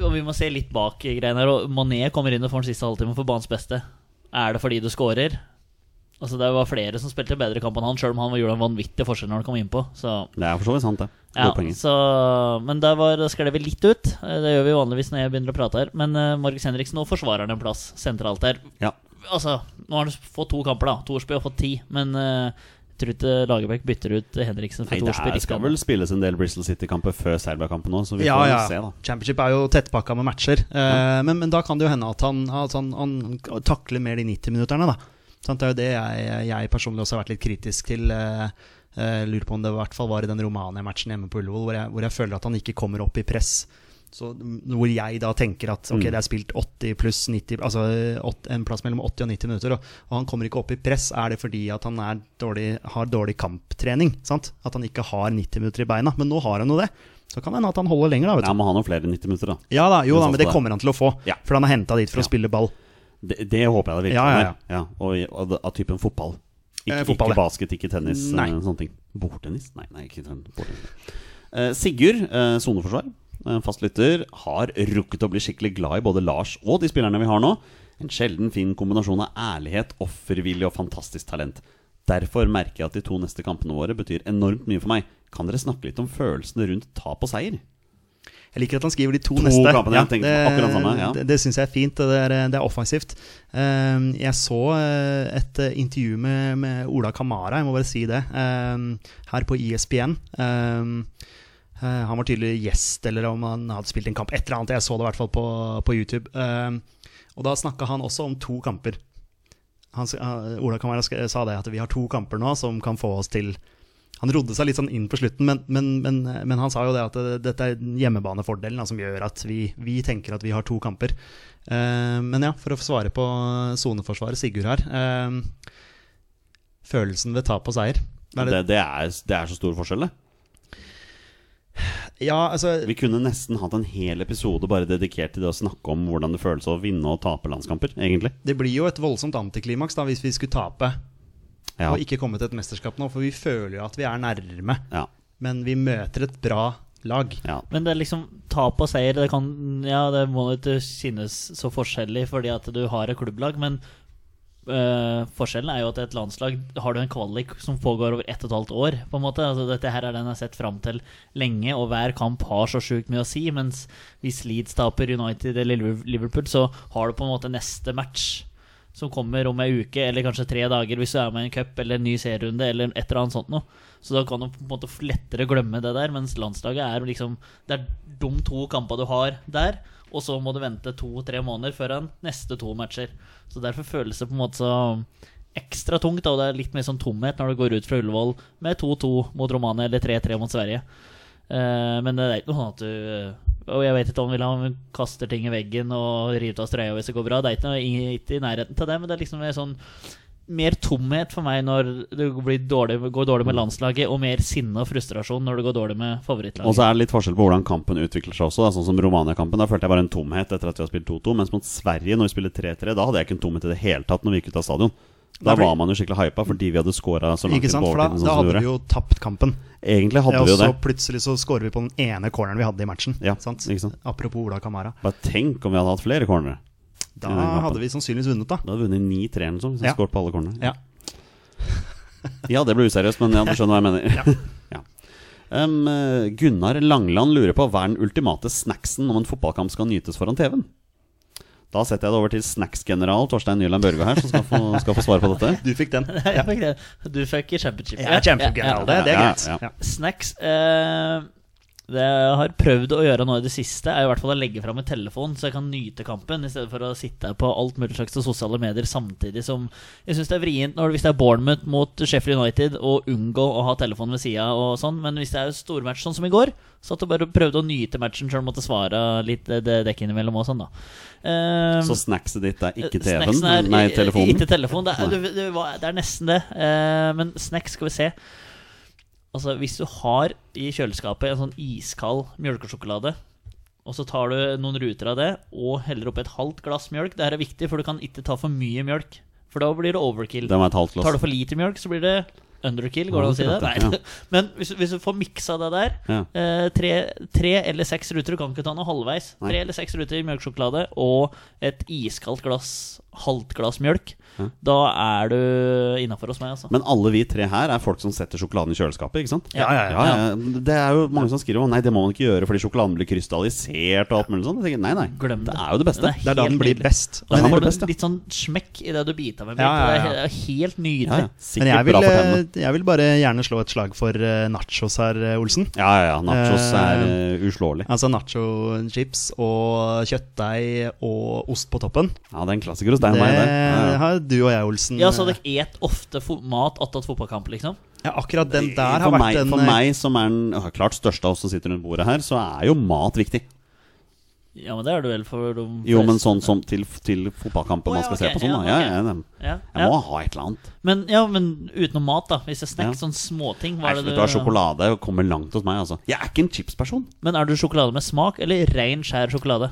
S3: Og vi må se litt bak i greiene her. Og Mané kommer inn og får den siste halvtimen for banens beste. Er det fordi du scorer? Altså, det var flere som spilte bedre kamp enn han, sjøl om han gjorde en vanvittig forskjell når han kom innpå. Så
S1: Det er for så vidt sant, det. Gode
S3: ja,
S1: poeng.
S3: så, men der var, da skled vi litt ut. Eh, Det gjør vi vanligvis når jeg begynner å prate her. Men uh, Markus Henriksen nå forsvarer han en plass sentralt her.
S1: Ja.
S3: Altså, nå har han fått to kamper, da. Thorsby har fått ti. Men eh, jeg tror ikke Lagerbäck bytter ut Henriksen
S1: Nei,
S3: for
S1: det
S3: Thorsby.
S1: er, skal vel spilles en del Bristol City-kamper før Serbia-kampen òg, så vi
S2: Ja,
S1: får
S2: ja.
S1: se, da.
S2: Championship er jo tettpakka med matcher. Eh, men, men da kan det jo hende at han, at han, han takler mer de 90-minutterne, da. Sant, det er jo det jeg, jeg personlig også har vært litt kritisk til. eh, eh, lurer på om det i hvert fall var i den Romania-matchen hjemme på Ullevål, hvor jeg, hvor jeg føler at han ikke kommer opp i press. Så, mm, hvor jeg da tenker at ok,
S1: Mm.
S2: det er spilt 80 pluss 90 Altså eh, åt- en plass mellom 80 og 90 minutter, og, og han kommer ikke opp i press. Er det fordi at han er dårlig, har dårlig kamptrening? Sant? At han ikke har 90 minutter i beina? Men nå har han jo det. Så kan det hende at han holder lenger, da. vet du
S1: Ja, må ha noen flere 90 minutter, da.
S2: ja da, jo
S1: Men
S2: da,
S1: sånn
S2: men
S1: skal
S2: det
S1: det.
S2: kommer han til å få.
S1: Ja.
S2: For han er henta dit for
S1: Ja.
S2: å spille ball.
S1: Det, det håper jeg det virkelig
S2: Ja, ja, ja.
S1: er. Ja, og, og det- av typen fotball. Ikke,
S2: Eh, fotball,
S1: ikke
S2: ja.
S1: basket, ikke tennis,
S2: Nei.
S1: eh, sånne ting. Bordtennis? Nei, nei ikke ten- bordtennis. Eh, Sigurd, eh, soneforsvar, eh, fast lytter, har rukket å bli skikkelig glad i både Lars og de spillerne vi har nå. En sjelden fin kombinasjon av ærlighet, offervilje og fantastisk talent. Derfor merker jeg at de to neste kampene våre betyr enormt mye for meg. Kan dere snakke litt om følelsene rundt tap og seier?
S2: Jeg liker at han skriver de to,
S1: To
S2: neste.
S1: kampene, jeg tenkte på akkurat samme, ja.
S2: Det, det syns jeg er fint. og Det er, det er offensivt. Ehm, jeg så eh, et eh, intervju med, med Ola Kamara, jeg må bare si det, ehm, her på ISPN. Ehm, eh, han var tydelig gjest, eller om han hadde spilt en kamp. Et eller annet. Jeg så det i hvert fall på, på YouTube. Ehm, og da snakka han også om to kamper. Han, s- eh, Ola Kamara sk- sa det, at vi har to kamper nå som kan få oss til Han rodde seg litt sånn inn på slutten, men, men, men, men han sa jo det at eh, dette er hjemmebanefordelen da, som gjør at vi, vi tenker at vi har to kamper. Eh, men ja, for å svare på soneforsvaret Sigurd her. eh, følelsen ved tap og seier. Hva er det?
S1: Det, det, er, det er så stor forskjell, det.
S2: Ja, altså
S1: Vi kunne nesten hatt en hel episode bare dedikert til det å snakke om hvordan det føles å vinne og tape landskamper, egentlig.
S2: Det blir jo et voldsomt antiklimaks da hvis vi skulle tape
S1: Ja.
S2: og ikke komme til et mesterskap nå, for vi føler jo at vi er nærme.
S1: Ja.
S2: Men vi møter et bra lag.
S1: ja.
S3: Men det er liksom tap og seier det kan, Ja, det må jo ikke kjennes så forskjellig fordi at du har et klubblag, men øh, forskjellen er jo at et landslag har du en kvalik som pågår over ett og et halvt år. på en måte altså, Dette her er den jeg har sett fram til lenge, og hver kamp har så sjukt mye å si. Mens hvis Leeds taper United eller Liver- Liverpool, så har du på en måte neste match som kommer om ei uke, eller kanskje tre dager hvis du er med i en cup eller en ny serierunde, eller et eller annet sånt noe. Så da kan du på en måte lettere glemme det der, mens landslaget er liksom Det er de to kampene du har der, og så må du vente to-tre måneder før en neste to matcher. Så derfor føles det på en måte så um, ekstra tungt, da, og det er litt mer sånn tomhet når du går ut fra Ullevål med 2-2 mot Romania eller 3-3 mot Sverige. Eh, men det er ikke noe sånn at du Og jeg vet ikke om han vil ha han kaster ting i veggen og river av strøya hvis det går bra. Det er ikke noe ingen- ikke i nærheten til det, men det er liksom mer sånn Mer tomhet for meg når det blir dårlig, går dårlig med landslaget, og mer sinne og frustrasjon når det går dårlig med
S1: Og
S3: favorittlaget.
S1: så er det litt forskjell på hvordan kampen utvikler seg også. Da. Sånn som Romania-kampen, da følte jeg bare en tomhet etter at vi har spilt 2-2. Mens mot Sverige, når vi spiller 3-3, da hadde jeg ikke en tomhet i det hele tatt når vi gikk ut av stadion. Da
S2: Nei, fordi-
S1: var man jo skikkelig hypa fordi vi hadde scora så langt
S2: Ikke
S1: inn
S2: sant?
S1: på
S2: For da,
S1: overtiden.
S2: da
S1: Sånn som vi
S2: hadde vi
S1: gjorde.
S2: jo tapt kampen.
S1: Egentlig hadde
S2: Ja, og
S1: vi jo
S2: så
S1: det.
S2: plutselig så scorer vi på den ene corneren vi hadde i matchen.
S1: Ja,
S2: sant?
S1: ikke sant?
S2: Apropos Ola Kamara.
S1: Bare tenk om vi hadde hatt flere cornere.
S2: Da
S1: Ja, den kampen.
S2: hadde vi sannsynligvis vunnet, da.
S1: Da hadde vi vunnet 9-3 eller noe sånt hvis vi
S2: Ja.
S1: hadde skåret på alle cornerne.
S2: Ja.
S1: Ja, det ble useriøst, men ja, du skjønner hva jeg mener. Ja. Em, eh, Gunnar Langland lurer på hva er den ultimate snacksen om en fotballkamp skal nytes foran TV-en? Da setter jeg det over til snacksgeneral Torstein Nyland Børgo her, som skal få, skal få svare på dette.
S2: Du fikk den.
S3: Jeg fikk det. Du fikk i championship.
S2: Jeg er
S3: Ja, ja,
S2: kjempegeneral,
S3: ja.
S2: det, det er
S1: Ja,
S2: greit.
S1: ja.
S2: Ja.
S3: Snacks eh, Det jeg har prøvd å gjøre nå i det siste, er i hvert fall å legge fram en telefon, så jeg kan nyte kampen, i stedet for å sitte på alt mulig slags sosiale medier samtidig som Jeg syns det er vrient når, hvis det er Bournemouth mot Sheffield United, å unngå å ha telefonen ved sida og sånn, men hvis det er stormatch sånn som i går, så at du bare prøvde å nyte matchen sjøl, måtte svare litt eh, det dekk innimellom og sånn, da. Eh,
S1: Så snackset ditt er ikke
S3: Eh,
S1: TV-en?
S3: snacksen er
S1: Nei,
S3: i-
S1: telefonen?
S3: Ikke telefon. Det er,
S1: Nei.
S3: du, du, hva- det er nesten det. Eh, men snacks, skal vi se. Altså, hvis du har i kjøleskapet en sånn iskald mjølkesjokolade, og så tar du noen ruter av det og heller oppi et halvt glass mjølk Det her er viktig, for du kan ikke ta for mye mjølk, for da blir det overkill.
S1: Det var et halvt
S3: Tar du
S1: glass.
S3: for lite mjølk, så blir det underkill, går det an å si det?
S1: Akkurat
S3: Nei.
S1: det,
S3: Men hvis, du- hvis du får miksa det der,
S1: Ja.
S3: Eh, tre, tre eller seks ruter, du kan ikke ta noe halvveis.
S1: Nei.
S3: Tre eller seks ruter i mjølkesjokolade og et iskaldt glass, halvt glass mjølk. Da er du innafor hos meg, altså.
S1: Men alle vi tre her er folk som setter sjokoladen i kjøleskapet, ikke sant?
S3: Ja, ja, ja.
S1: Det er jo mange som skriver om Nei, det må man ikke gjøre fordi sjokoladen blir krystallisert og alt mulig sånt. Jeg tenker, nei, nei.
S3: Glem det.
S1: Det er jo det beste.
S3: Det
S2: Det er da
S3: Helt
S2: den blir
S3: nydelig.
S2: best.
S1: Da
S3: Da
S1: Men-
S3: får du
S1: best, ja.
S3: litt sånn smekk idet du biter av en bit.
S2: Ja, ja,
S3: og
S2: ja.
S3: Det er he- det er helt nydelig.
S1: Ja, ja.
S2: Men jeg
S1: Sikkert
S2: vil,
S1: bra for
S2: eh,
S1: tennene.
S2: jeg vil bare gjerne slå et slag for eh, nachos her, eh, Olsen.
S1: Ja, ja, ja. Nachos er
S2: eh,
S1: eh, uslåelig.
S2: Altså nacho-chips og kjøttdeig og ost på toppen.
S1: Ja, det er en klassiker hos
S2: Det
S1: deg og meg, det. Ja, ja.
S2: har du og jeg, Olsen.
S3: Ja, så dere et ofte fo mat attåt fotballkamp, liksom?
S2: Ja, akkurat den der har
S1: for, meg,
S2: vært en eh,
S1: for meg, som er den ja, klart største av oss som sitter rundt bordet her, så er jo mat viktig.
S3: Ja, men det er du vel for de
S1: Jo, men
S3: fleste.
S1: sånn som til, til fotballkampen
S3: Å,
S1: man
S3: ja,
S1: skal
S3: ok,
S1: se på sånn, da.
S3: ja,
S1: Ja,
S3: ok.
S1: ja, ja.
S3: ja,
S1: Jeg må
S3: ja.
S1: ha et eller annet.
S3: Men, ja, men utenom mat, da. Hvis det er snacks,
S1: Ja.
S3: sånn småting hva
S1: Nei,
S3: er det
S1: slutt å ha sjokolade og komme langt hos meg, altså. Jeg er ikke en chipsperson.
S3: Men er du sjokolade med smak, eller rein, skjær sjokolade?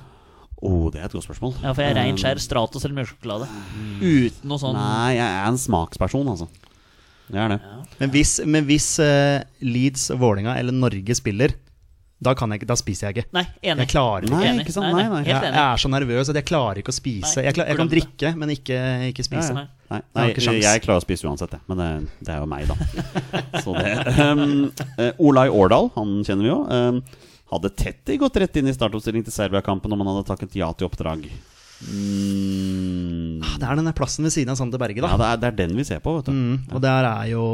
S1: Oh, det er et godt spørsmål.
S3: Ja, for jeg er rein
S1: Eh,
S3: skjær Stratos eller mjølkesjokolade. Uten noe sånn
S1: Nei, jeg er en smaksperson, altså. Jeg er det.
S2: Men hvis, men hvis eh, Leeds, Vålinga eller Norge spiller, da, kan jeg, ikke- da spiser jeg ikke.
S3: Nei, enig.
S2: Jeg klarer ikke.
S1: Nei,
S3: Enig.
S1: ikke sant?
S3: Nei, nei,
S1: Nei, nei.
S2: Jeg,
S3: Helt
S2: jeg
S3: enig.
S2: er så nervøs at jeg klarer ikke å spise.
S3: Nei,
S2: Jeg, klar, jeg kan
S3: glem det.
S2: drikke, men ikke, ikke spise.
S3: Nei.
S1: Nei,
S2: Jeg
S1: nei
S2: har ikke
S1: jeg,
S2: sjans.
S1: jeg klarer å spise uansett, jeg. Men det, det er jo meg, da. Så det um, eh, Olai Årdal, han kjenner vi jo. Um, hadde Tetti gått rett inn i startoppstilling til Serbia-kampen om han hadde takket ja til oppdrag? Mm.
S2: Ah, Det er den der plassen ved siden av Sander Berge,
S1: Ja,
S2: da.
S1: det er, det er den vi ser på, vet du.
S2: Mm, og der er jo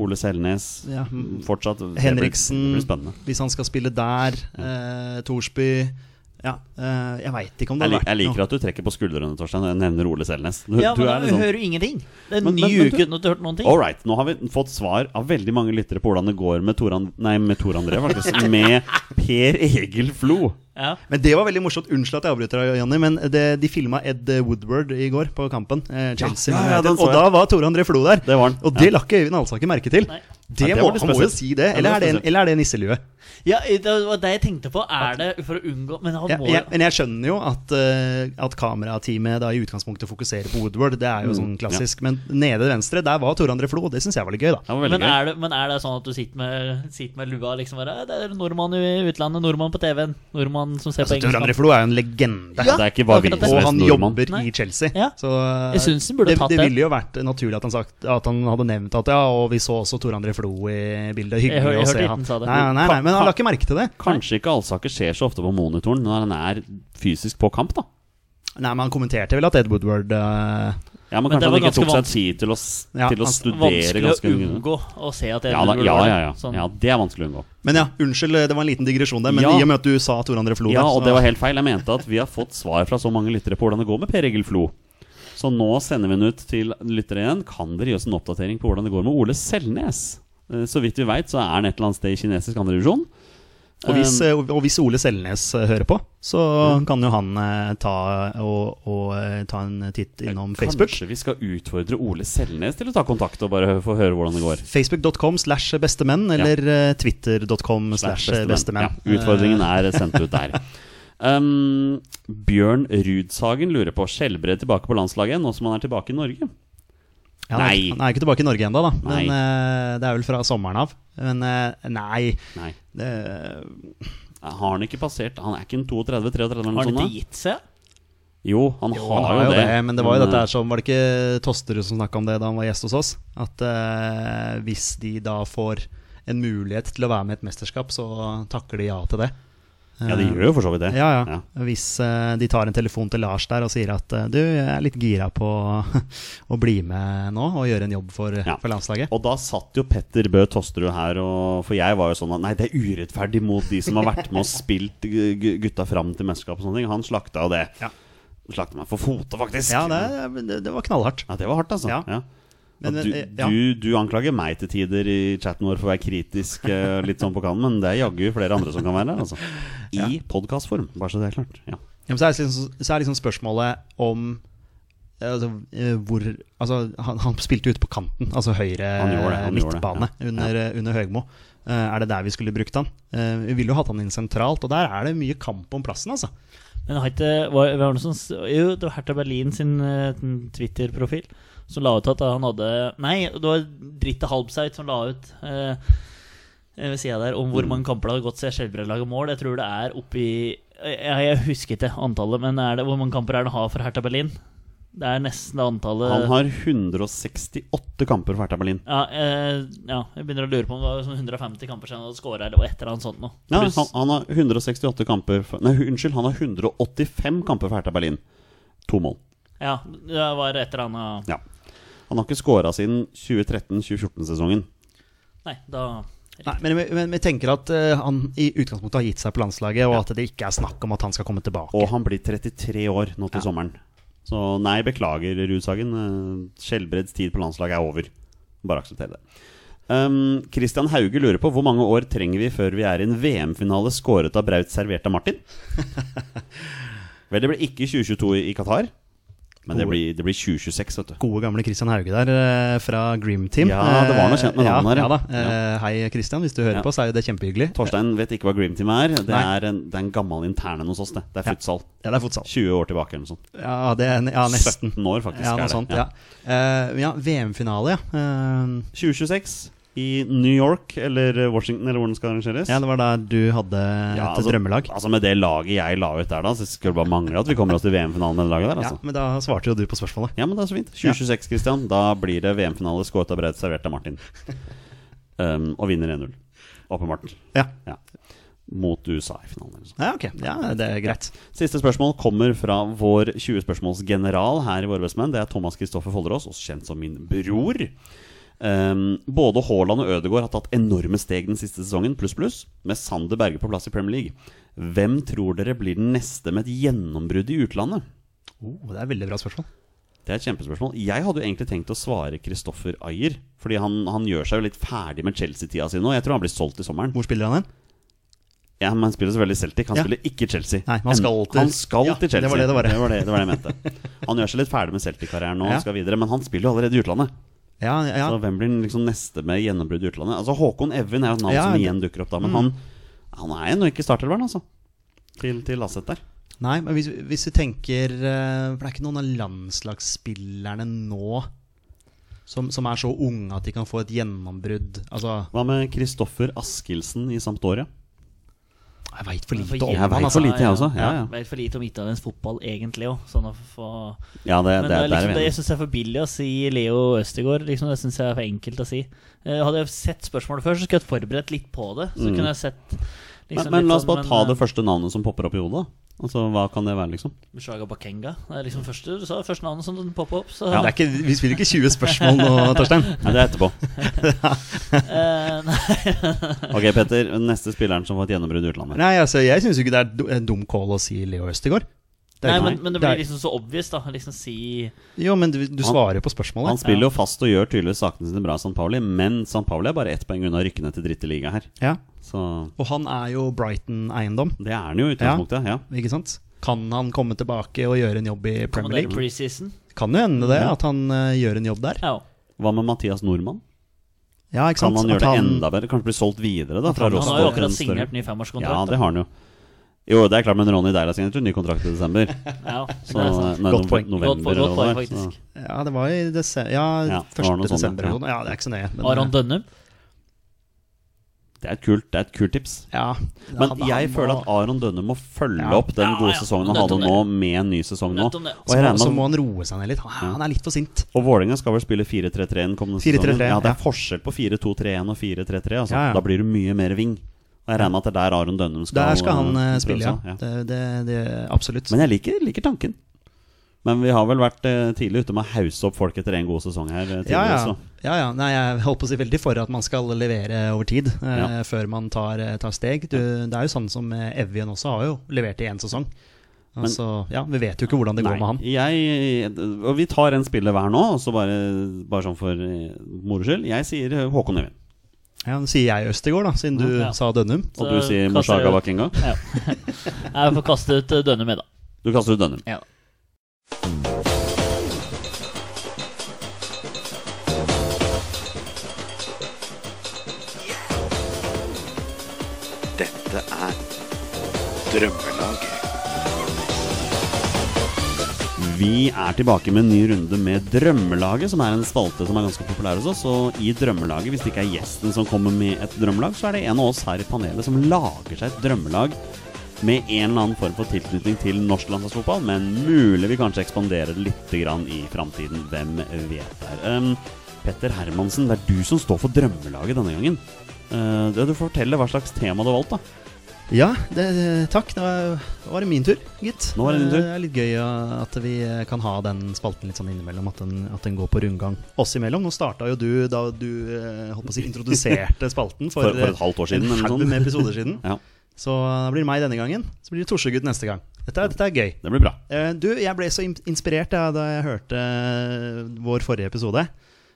S1: Ole Selnes.
S2: ja,
S1: Fortsatt. det blir-
S2: Henriksen.
S1: Det blir spennende.
S2: Hvis han skal spille der, eh, Thorsby ja, eh, Jeg veit ikke om det
S1: Jeg, lik, jeg
S2: hadde vært
S1: liker at du trekker på skuldrene, Torstein. og Jeg nevner Ole Selnes. Du,
S3: Ja,
S1: du
S3: men da
S1: er litt sånn-
S3: hører du ingenting. Det er en
S1: Men-
S3: ny
S1: men- men
S3: uke
S1: du-
S3: uten at du har hørt noen ting.
S1: All right, nå har vi fått svar av veldig mange lyttere på hvordan det går med Tor, An nei, med Tor André, faktisk. Med Per Egil Flo.
S3: Ja.
S2: Men det var veldig morsomt. Unnskyld at jeg avbryter deg, Janni, men det, de filma Ed Woodward i går på kampen. Eh, Chelsea.
S1: Ja, ja,
S2: United,
S1: den så
S2: og
S1: jeg.
S2: da var Tore André Flo der.
S1: Det var han,
S2: Og det la ikke Øyvind Alsaker merke til.
S3: Nei.
S2: Det,
S1: Ja, det
S2: må,
S1: var litt
S2: han må jo
S1: spesielt.
S2: si det.
S1: Ja, det
S2: Eller
S1: var
S2: er det, en,
S1: spesielt.
S2: eller er det nisselue?
S3: ja, det var det jeg tenkte på. Er det for å unngå Men han
S2: Ja,
S3: må
S2: jeg,
S3: jo
S2: men jeg skjønner jo at, eh, at kamerateamet da i utgangspunktet fokuserer på Woodward. Det
S1: Mm.
S2: er jo sånn klassisk. Men nede venstre, der var Tore André Flo. og Det syns jeg var litt gøy, da.
S1: Det var veldig
S3: men
S1: gøy.
S3: er, det, men er det sånn at du sitter med, sitter med lua liksom bare «Eh, Det er nordmann i utlandet, nordmann på TV-en, nordmann som ser
S2: Altså,
S3: på
S2: Tore André
S3: engelsk.
S2: Flo er jo en legende.
S1: Det er ikke bare vi
S3: akkurat
S1: som
S2: Og
S1: er
S2: han
S1: nordmann.
S2: jobber
S3: Nei.
S2: i Chelsea.
S3: Ja.
S2: Så eh,
S3: Jeg synes han burde
S2: det,
S3: tatt
S2: det
S3: det.
S2: ville jo vært naturlig at han, sagt, at han hadde nevnt at ja, og vi så også Tor André Flo i bildet.
S3: Jeg
S2: Hyggelig
S3: hør- jeg
S2: å
S3: hørte
S2: se
S3: ikke
S2: han.
S3: han sa det.
S2: Nei, nei, nei, men han la ikke merke til det.
S1: Kanskje ikke Alsaker ser så ofte på monitoren når han er fysisk på kamp, da.
S2: Nei, men han kommenterte vel at Ed Woodward eh,
S1: Ja, Men
S3: Men
S1: kanskje han
S3: det var
S1: ikke tok seg
S3: ganske
S1: tid til å, s-
S2: Ja,
S1: til å
S2: altså,
S1: studere
S3: Vanskelig
S1: ganske
S3: å
S1: mye.
S3: unngå å se at det
S1: Ja, da,
S3: Edward
S1: ja,
S3: var
S1: ja,
S3: der.
S1: ja.
S3: Sånn.
S1: ja. Det er vanskelig å unngå.
S2: Men ja, unnskyld, eh, det var en liten digresjon der. Men
S1: Ja.
S2: i og med at du sa Tor André Flo
S1: Ja,
S2: der,
S1: og
S2: så-
S1: det var helt feil. Jeg mente at vi har fått svar fra så mange lyttere på hvordan det går med Per Egil Flo. Så nå sender vi den ut til lyttere igjen. Kan dere gi oss en oppdatering på hvordan det går med Ole Selnes? Eh, Så vidt vi veit, så er han et eller annet sted i kinesisk andredivisjon.
S2: Og hvis,
S1: Eh,
S2: eh, og hvis Ole Selnes eh, hører på, så kan jo han eh, ta, og, og, eh, ta en titt innom Facebook.
S1: Kanskje vi skal utfordre Ole Selnes til å ta kontakt og bare hø- få høre hvordan det går.
S2: Facebook.com slash bestemenn, eller eh, twitter.com slash eh, bestemenn.
S1: Ja, utfordringen
S2: Eh.
S1: er sendt ut der. Um, Bjørn Rudsagen lurer på skjellbred tilbake på landslaget nå som han er tilbake i Norge.
S2: Ja, Eh, han, er,
S1: Nei.
S2: ikke- han er ikke tilbake i Norge ennå, da.
S1: Nei.
S2: Men eh, det er vel fra sommeren av. Men eh, nei eh,
S1: Nei,
S2: det,
S1: har han ikke passert Han er ikke en 32-33 eller noe
S3: Har han
S1: sånt? da?
S3: ikke gitt seg?
S1: Jo, han
S2: jo,
S1: har,
S2: han har jo det, men det var jo dette
S1: eh,
S2: her som Var det ikke Tosterud som snakka om det da han var gjest hos oss? At eh, hvis de da får en mulighet til å være med i et mesterskap, så takker de ja til det.
S1: Mm.
S2: Eh,
S1: Ja, de gjør jo for så vidt det.
S2: Ja, ja.
S1: Ja.
S2: Hvis eh, de tar en telefon til Lars der og sier at eh, du, jeg er litt gira på å bli med nå og gjøre en jobb for,
S1: Ja.
S2: for landslaget.
S1: Og da satt jo Petter Bø Tosterud her, og, for jeg var jo sånn at nei, det er urettferdig mot de som har vært med og spilt gu- gu- gutta fram til mesterskap og sånne ting. Han slakta jo det.
S2: Ja.
S1: Slakta meg for fote, faktisk.
S2: Ja, det, det, det var knallhardt.
S1: Ja, det var hardt, altså.
S2: Ja.
S1: Ja.
S2: Men,
S1: Og du,
S2: eh, ja.
S1: du, du anklager meg til tider i chatten vår for å være kritisk eh, litt sånn på kanten, men det er jaggu flere andre som kan være der, altså. I podcastform, bare så det er klart. Ja.
S2: Ja, men så er, liksom, så er liksom spørsmålet om eh, altså, eh, hvor, altså, han, han spilte jo ute på kanten, altså
S1: Han gjorde
S2: høyre
S1: det, han gjorde det,
S2: midtbane,
S1: ja.
S2: under, under Høgmo. Eh, er det der vi skulle brukt han? Eh, vi ville jo hatt han inn sentralt, og der er det mye kamp om plassen, altså.
S3: Men har ikke var, var det noe som, s- Jo, det var Hertha Berlin sin eh, den Twitter-profil som la ut at han hadde Nei, det var Dritte Halbseit som la ut eh, eh, ved siden der om
S1: Mm.
S3: hvor mange kamper det hadde gått siden Skjelbred laget mål. Jeg tror det er oppi jeg, jeg husker ikke antallet, men er det, hvor mange kamper er det han har for Hertha Berlin? Det er nesten det antallet
S1: Han har 168 kamper for Hertha Berlin.
S3: ja, eh, ja, jeg begynner å lure på om det var sånn 150 kamper siden han hadde skåra, eller et eller annet sånt noe.
S1: Ja,
S3: Pluss-
S1: han, han har 168 kamper for, Nei, unnskyld, han har 185 kamper for Hertha Berlin. To mål.
S3: ja, det var et eller annet
S1: Ja. Han har ikke scora siden 2013-2014-sesongen.
S3: Nei, da
S2: Nei, men, men, men jeg tenker at eh, han i utgangspunktet har gitt seg på landslaget, og at det ikke er snakk om at han skal komme tilbake.
S1: Og han blir 33 år nå til sommeren. Så nei, beklager, Rudsagen. Eh, Skjelbreds tid på landslaget er over. Bare aksepter det. Um, Christian Hauge lurer på hvor mange år trenger vi før vi er i en VM-finale skåret av Braut servert av Martin? Vel, det blir ikke 2022 i Qatar, men det blir, det blir 2026, vet du.
S2: Gode gamle Christian Hauge der eh, fra Grim Team.
S1: Ja, det var noe kjent med
S2: Eh, ja,
S1: navnet her, ja.
S2: Ja da. Eh, Hei, Christian. Hvis du hører
S1: Ja.
S2: på, så er jo det kjempehyggelig.
S1: Torstein vet ikke hva Grim Team er. Det
S2: Nei.
S1: er en, det er en gammel interne hos oss. Det Det er futsal.
S2: Ja, det er futsal.
S1: 20 år tilbake eller noe sånt.
S2: Ja, det er, ja nesten.
S1: 17 år, faktisk.
S2: Ja,
S1: er
S2: noe
S1: det.
S2: sånt.
S1: Ja.
S2: Ja, Eh, ja VM-finale, ja. Eh,
S1: 2026 i New York eller eh, Washington, eller hvor den skal arrangeres.
S2: ja, det var da du hadde et
S1: Ja, altså-
S2: drømmelag.
S1: Altså Med det laget jeg la ut der, da, så skulle det bare mangle at vi kommer oss til VM-finalen med det laget der.
S2: Ja,
S1: altså
S2: men da svarte jo du på spørsmålet.
S1: Ja, men det er så fint. 2026, Christian. Da blir det VM-finale skåret av bredt servert av Martin. Um, og vinner 1-0. Åpenbart.
S2: Ja,
S1: Ja. Mot USA i finalen. Eller sånt.
S2: ja ok. Ja, det er greit.
S1: Siste spørsmål kommer fra vår 20-spørsmålsgeneral her i Våre bestemenn. Det er Thomas Kristoffer Follerås, også kjent som min bror. Ehm, både Haaland og Ødegaard har tatt enorme steg den siste sesongen, pluss, pluss, med Sander Berge på plass i Premier League. Hvem tror dere blir den neste med et gjennombrudd i utlandet?
S2: Oh, det er et veldig bra spørsmål.
S1: Det er et kjempespørsmål. Jeg hadde jo egentlig tenkt å svare Kristoffer Ayer, fordi han, han gjør seg jo litt ferdig med Chelsea-tida si nå. Jeg tror han blir solgt i sommeren.
S2: Hvor spiller han hen?
S1: Ja, men han spiller selvfølgelig Celtic. Han
S2: Ja.
S1: spiller ikke Chelsea.
S2: Nei, men han skal
S1: En-
S2: til-
S1: han skal
S2: Ja,
S1: til Chelsea.
S2: det var det det var.
S1: det, det, var det jeg mente. Han gjør seg litt ferdig med Celtic-karrieren nå,
S2: Ja.
S1: han skal videre, men han spiller jo allerede i utlandet.
S2: Ja, ja, ja.
S1: Så hvem blir liksom neste med gjennombrudd i utlandet? Altså Håkon Evjen er jo et navn
S2: Ja,
S1: som
S2: det- Mm.
S1: igjen dukker opp da, men han, han er ennå ikke startelveren, altså. Til, til Lasset der.
S2: Nei, men hvis, hvis du tenker eh, For det er ikke noen av landslagsspillerne nå som, som er så unge at de kan få et gjennombrudd. Altså,
S1: Hva med Kristoffer Askildsen i Sampdoria?
S2: jeg veit for
S3: For
S2: lite om
S1: Jeg
S2: han,
S1: vet
S2: altså.
S1: for lite, jeg også. Ja, ja.
S3: Vet for lite om italiensk fotball egentlig òg. Sånn å få
S1: Ja, det, det,
S3: Men det,
S1: der er
S3: liksom, det
S1: vi
S3: jeg
S1: enige.
S3: syns er for billig å si Leo Østegård. Liksom, det syns jeg er for enkelt å si. Eh, hadde jeg sett spørsmålet før, så skulle jeg forberedt litt på det. Så kunne jeg sett
S1: Men, Mm.
S3: liksom,
S1: men
S3: litt
S1: la oss
S3: sånn,
S1: bare ta
S3: eh,
S1: det første navnet som popper opp i hodet. da. Altså, Hva kan det være, liksom?
S3: Mushaga Bakenga. eh, Det er liksom første, du sa første navnet som poppa opp. Så,
S2: Ja, det er ikke, vi spiller ikke 20 spørsmål nå, Torstein.
S1: Nei, det er etterpå.
S3: eh, nei,
S1: Ok, Petter. Neste spilleren som får et gjennombrudd i utlandet.
S2: Nei, altså, jeg syns jo ikke det er du- en dum call å si Leo Østegård. Det er
S3: nei
S2: ikke-
S3: men, men det
S2: er-
S3: blir liksom så obvious, da. Liksom si
S2: Jo, men du, du
S1: Han-
S2: svarer på
S1: Han
S2: spørsmålet.
S1: spiller jo fast og gjør tydeligvis sakene sine bra i San Pauli, men San Pauli er bare ett poeng unna rykkene til dritteliga her.
S2: Ja.
S1: Så
S2: Og han er jo Brighton-eiendom,
S1: det er han jo i utgangspunktet. Ja.
S2: ikke sant? Kan han komme tilbake og gjøre en jobb i Premier
S3: Premier
S2: League?
S3: preseason.
S2: Kan jo hende det,
S1: Ja.
S2: at han eh, gjør en jobb der.
S3: Ja.
S1: Hva med Mathias Nordmann?
S2: Ja, ikke sant?
S1: Kan han
S2: At
S1: gjøre det enda bedre? Kanskje bli solgt videre, da? Fra
S2: han-
S3: Han
S1: Rostock
S3: har jo
S1: til en
S3: akkurat
S1: større-
S3: signert ny femårskontrakt.
S1: Ja,
S3: da.
S1: det har han jo. Jo, det er klart, men Ronny Deila signerte jo ny kontrakt i desember.
S3: Ja,
S1: Så,
S3: det er sånn. sant.
S1: nei,
S2: Godt
S1: nove-
S2: poeng.
S1: november,
S3: Godt- godt poeng,
S1: eller hva det var, så-
S3: faktisk.
S2: Ja, det var i desember Ja,
S1: Ja, det var
S2: 1.
S1: noe sånt,
S2: desember.
S1: ja.
S2: eller noe. Ja. det er ikke så nøye.
S1: eh,
S2: men- eh,
S3: Aron Dønnum.
S1: Det er et kult, det er et kult tips.
S2: ja,
S1: Men
S2: han-
S1: jeg
S2: han
S1: føler
S2: må-
S1: at Aron Dønne må følge
S2: Ja.
S1: opp den
S3: Ja,
S1: gode
S3: ja.
S1: sesongen han
S3: Nødt
S1: hadde
S3: om det.
S1: nå, med en ny sesong nå.
S3: Nødt om det.
S1: Og jeg regner
S2: så må
S1: med
S2: han roe seg ned litt. Han, han er litt for sint.
S1: og Vålerenga skal vel spille 4-3-3 den kommende
S2: 4-3-3,
S1: sesongen. Ja, Det
S2: ja.
S1: er forskjell på 4-2-3-1 og 4-3-3. Altså.
S2: Ja, ja.
S1: Da blir du mye mer ving. Og jeg regner med at det er der Aron Dønnum skal
S2: Der skal han eh,
S1: eh,
S2: spille,
S1: prøve seg,
S2: ja. Det, det, det, absolutt.
S1: Men jeg liker, liker tanken. Men vi har vel vært eh, tidlig ute med å hause opp folk etter en god sesong her. eh,
S2: ja,
S1: tidligere,
S2: ja.
S1: Så.
S2: ja, ja. Nei, jeg holdt på å si veldig for at man skal levere over tid, eh,
S1: Ja.
S2: før man tar, eh, tar steg. Du, det er jo sånn som eh, Evjen også har jo levert i én sesong. Altså, ja, vi vet jo ikke hvordan det går med han.
S1: Jeg, eh, og vi tar en spiller hver nå, og så bare, bare sånn for eh, moro skyld. Jeg sier eh, Håkon Evjen.
S2: Ja, nå sier jeg Østegård, da, siden du
S3: Ja.
S2: sa Dønnum.
S1: Og
S3: Så
S1: du sier
S3: kaster
S1: Moshaga
S3: jeg-
S1: Bakenga.
S3: Ja. Jeg får kaste ut eh, Dønne med, da.
S1: Du kaster ut Dønnum.
S3: Ja.
S5: Dette er Drømmelaget.
S1: Vi er tilbake med en ny runde med Drømmelaget, som er en spalte som er ganske populær hos oss. Og i Drømmelaget, hvis det ikke er gjesten som kommer med et drømmelag, så er det en av oss her i panelet som lager seg et drømmelag med en eller annen form for tilknytning til norsk landslagsfotball, men mulig vi kanskje ekspanderer det litt grann i framtiden. Hvem vet der. Um, Petter Hermansen, det er du som står for drømmelaget denne gangen. Uh, du får fortelle hva slags tema du har valgt, da.
S2: Ja, det, takk. Da var det min tur, gitt.
S1: Nå var det din tur.
S2: Eh, Det er litt gøy eh, at vi eh, kan ha den spalten litt sånn innimellom, at den, at den går på rundgang oss imellom. Nå starta jo du da du eh, holdt på å si, introduserte spalten for,
S1: For, for et halvt år siden,
S2: en
S1: eller
S2: haug
S1: noe sånt.
S2: med episoder siden.
S1: Ja,
S2: Så da blir det meg denne gangen. Så blir det Torsegutt neste gang. Dette, er- dette er gøy.
S1: det blir bra.
S2: Eh, Du, jeg ble så im- inspirert ja, da jeg hørte eh, vår forrige episode.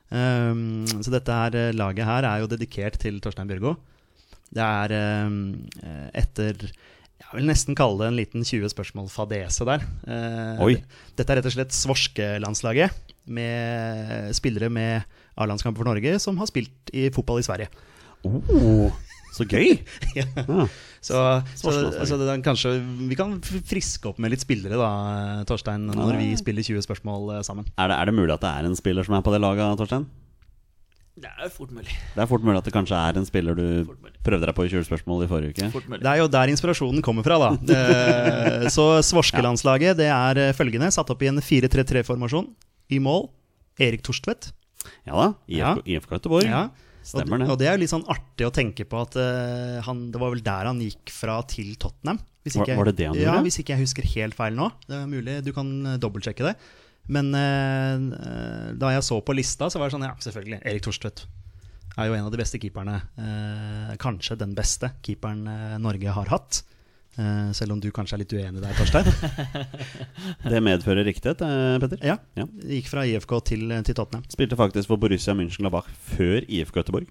S2: Um, så dette her eh, laget her er jo dedikert til Torstein Bjørgo. Det er um, eh, etter Jeg vil nesten kalle det en liten 20 spørsmål-fadese der. Eh,
S1: Oi.
S2: Dette er rett og slett svorskelandslaget med eh, spillere med A-landskamp for Norge som har spilt i fotball i Sverige.
S1: Oh, så gøy!
S2: Ja.
S1: Ja.
S2: Så, så,
S1: Svarslandslaget.
S2: så det er kanskje vi kan f- friske opp med litt spillere, da, Torstein, når vi spiller 20 spørsmål eh, sammen.
S1: Er det, er det mulig at det er en spiller som er på det laget, Torstein?
S3: Det er fort mulig.
S1: Det er fort mulig at det kanskje er en spiller du prøvde deg på i 20 spørsmål i forrige uke.
S3: Fort mulig.
S2: Det er jo der inspirasjonen kommer fra, da. Eh, Så svorskelandslaget det er eh, følgende, satt opp i en 4-3-3-formasjon. I mål Erik Torstvedt.
S1: Ja da, IFK, IFK Göteborg.
S2: Ja. Og,
S1: Stemmer det.
S2: og det er jo litt sånn artig å tenke på at eh, han, det var vel der han gikk fra til Tottenham. Hvis
S1: Var- var det det han
S2: ja,
S1: gjorde?
S2: Hvis ikke jeg husker helt feil nå. Det er mulig, Du kan eh, dobbeltsjekke det. Men eh, eh, da jeg så på lista, så var det sånn Ja, selvfølgelig. Erik Torstvedt er jo en av de beste keeperne. eh, kanskje den beste keeperen eh, Norge har hatt. Eh, selv om du kanskje er litt uenig der, Torstein.
S1: Det medfører riktighet, eh, Petter.
S2: Ja,
S1: Ja.
S2: Gikk fra IFK til, til Tottenham.
S1: Spilte faktisk for Borussia München-Labach før IFK Göteborg.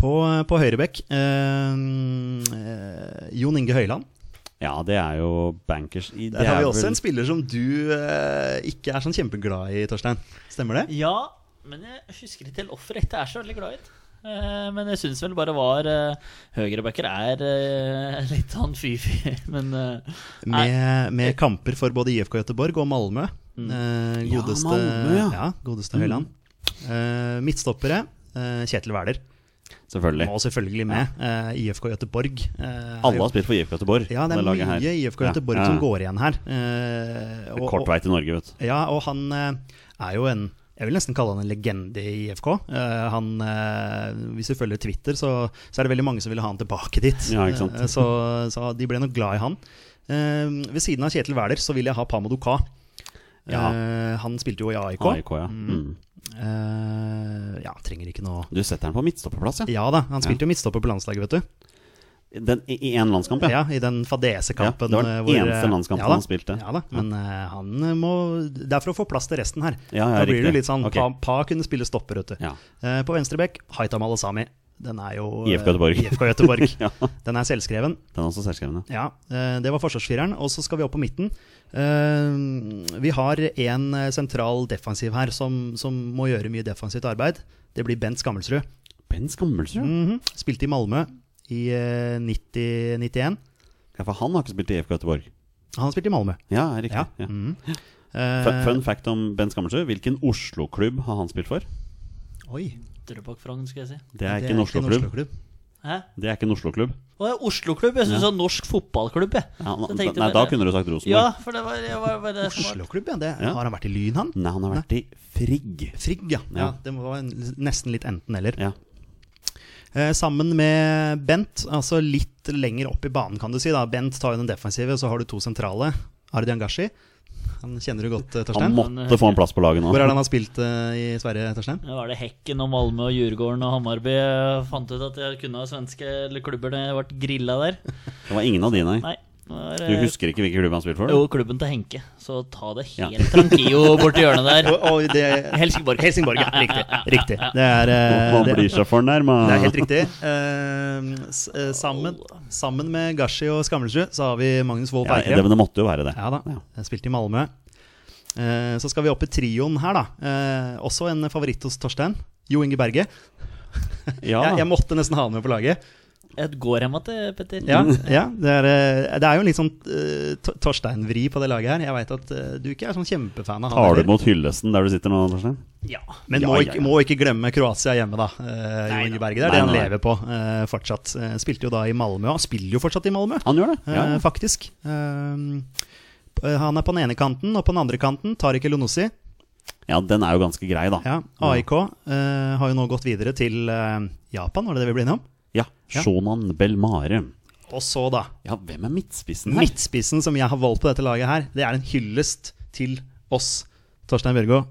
S2: På, på høyrebekk eh, eh, Jon Inge Høiland.
S1: Ja, det er jo bankers i-
S2: Der
S1: det
S2: har
S1: er
S2: vi også
S1: vel-
S2: en spiller som du eh, ikke er sånn kjempeglad i, Torstein. Stemmer det?
S3: Ja, men jeg husker ikke helt hvorfor jeg ikke er så veldig glad i det. Eh, Men jeg syns vel bare var uh, Høyrebacker er eh, litt han fy-fy, men eh, nei,
S2: Med, med kamper for både IFK Göteborg og Malmö. Eh,
S1: Mm. Ja,
S2: godeste
S1: Malmö, ja.
S2: godeste Høyland. Eh, midtstoppere. eh, Kjetil Wæler
S1: Selvfølgelig.
S2: må selvfølgelig med. Eh, IFK Göteborg. eh, er
S1: Alle
S2: jo-
S1: har spilt for IFK Göteborg.
S2: Ja, det er
S1: laget
S2: mye
S1: her.
S2: IFK
S1: Ja,
S2: Göteborg
S1: ja.
S2: som går igjen her. Eh, og-
S1: Kort
S2: og-
S1: vei til Norge, vet du.
S2: Ja, og han eh, er jo en jeg vil nesten kalle han en legende i IFK. Eh, han, eh, hvis du følger Twitter, så, så er det veldig mange som ville ha han tilbake dit.
S1: Ja, ikke sant?
S2: Eh, så, så de ble nok glad i han. Eh, ved siden av Kjetil Wæler så vil jeg ha Pamo Duka.
S1: Ja.
S2: Eh, han spilte jo i AIK.
S1: AIK, ja. Mm.
S2: Eh, ja, trenger ikke noe
S1: Du setter den på midtstopperplass, ja.
S2: Ja da, han spilte jo midtstopper på landslaget, vet du.
S1: Den, i, I en landskamp, ja.
S2: Ja, I den fadesekampen.
S1: Ja, det var den
S2: eh,
S1: eneste landskampen
S2: da,
S1: han spilte.
S2: Ja da, Men eh, han må Det er for å få plass til resten her.
S1: Ja, ja,
S2: da blir
S1: riktig.
S2: det litt sånn
S1: Ok.
S2: pa, pa kunne spille stopper, vet du.
S1: Ja.
S2: Eh, på venstrebekk, Haitham Alesami. Den er jo eh,
S1: IFK Göteborg.
S2: IFK Göteborg.
S1: Ja.
S2: Den er selvskreven.
S1: Den er også særskrevne.
S2: Ja, eh, det var forsvarsfireren. Og så skal vi opp på midten. Eh, vi har en eh, sentral defensiv her som, som må gjøre mye defensivt arbeid. Det blir Bent Skammelsrud.
S1: Ben Skammelsrud.
S2: Mhm. Spilte i Malmö i eh, 90-91.
S1: Ja, for han har ikke spilt i IFK Göteborg.
S2: Han spilte i Malmö.
S1: Ja, riktig.
S2: Ja.
S1: Ja.
S2: Mhm.
S1: Fun,
S2: Eh,
S1: fun fact om Ben Skammelsrud. Hvilken Oslo-klubb har han spilt for?
S2: Oi,
S3: Drøbak Frogn, skal jeg si.
S1: Det er ikke en Oslo-klubb.
S2: Oslo-klubb.
S3: Hæ?
S1: Det er ikke en Oslo-klubb.
S3: Å, ja, Oslo-klubb. Jeg syns det var norsk fotballklubb, jeg.
S1: Ja, han-
S3: Så
S1: nei,
S3: tenkte jeg
S1: da
S3: bare-
S1: kunne du sagt Rosenborg.
S3: Ja, for det var, det var, var det som var
S2: Oslo-klubb, ja. Det,
S1: Ja.
S2: Har han vært i Lyn, han?
S1: Nei, han har vært i Frigg.
S2: Frigg, ja.
S1: Ja.
S2: ja. Det må være en- nesten litt enten-eller.
S1: Ja.
S2: Eh, sammen med Bent, altså litt lenger opp i banen, kan du si. da Bent tar jo den defensive, og så har du to sentrale. Ardian Gashi. Han kjenner du godt, eh,
S1: Han
S2: Torstein.
S1: måtte få en plass på laget nå.
S2: Hvor er det han har spilt eh, i Sverige, Torstein?
S3: Det var det Hekken og Malmö og Djurgården og Hammarby. Jeg fant ut at jeg kunne ha svenske eller klubber da jeg ble grilla der.
S1: Det var ingen av de, nei.
S3: Nei. det var,
S1: Du
S3: eh,
S1: husker ikke hvilken klubb han spilte for?
S3: Jo, klubben til Henke. Så ta det
S1: Ja.
S3: helt tranquillo borti hjørnet der.
S2: Og, og det,
S3: Helsingborg.
S2: Helsingborg, ja. Riktig. riktig. Det er eh,
S1: Man
S2: det-
S1: blir så fornærma.
S2: Det er helt riktig. Eh, s- eh, sammen, sammen med Gashi og Skamlesrud så har vi Magnus Wold
S1: Ja,
S2: Bergkrem.
S1: det, men det måtte jo være det.
S2: Ja da, jeg spilte i Malmö. Eh, så skal vi opp i trioen her, da. Eh, også en favoritt hos Torstein. Jo Inge Berge.
S1: Ja,
S2: Jeg, jeg måtte nesten ha han med på laget.
S3: Et går hjem til Petter.
S2: Ja,
S1: Mm.
S2: ja det, er, eh, det er jo en litt sånn eh, Tor- Torstein-vri på det laget her. Jeg veit at eh, du ikke er sånn kjempefan av han.
S1: Tar
S2: heller.
S1: du mot hyllesten der du sitter nå, Torstein?
S3: Ja.
S2: Men
S1: Ja,
S2: må,
S1: ja,
S2: Ikke,
S1: ja.
S2: må ikke glemme Kroatia hjemme, da. Eh,
S3: Nei,
S2: jo
S3: da.
S2: Inge Berge. Det er
S1: Nei,
S2: det han
S1: nei, nei.
S2: lever på eh, fortsatt. Eh, spilte jo da i Malmö. Han spiller jo fortsatt i Malmö,
S1: Han gjør det.
S2: eh,
S1: Ja.
S2: faktisk. Eh, p- han er på den ene kanten, og på den andre kanten Tariq Elonossi.
S1: ja, den er jo ganske grei, da.
S2: Ja, AIK eh, har jo nå gått videre til eh, Japan, var det det vi ble innom?
S1: Ja, Shonan Belmare.
S2: Og så, da.
S1: Ja, hvem er midtspissen her?
S2: Midtspissen som jeg har valgt på dette laget her, det er en hyllest til oss, Torstein Bjørgo.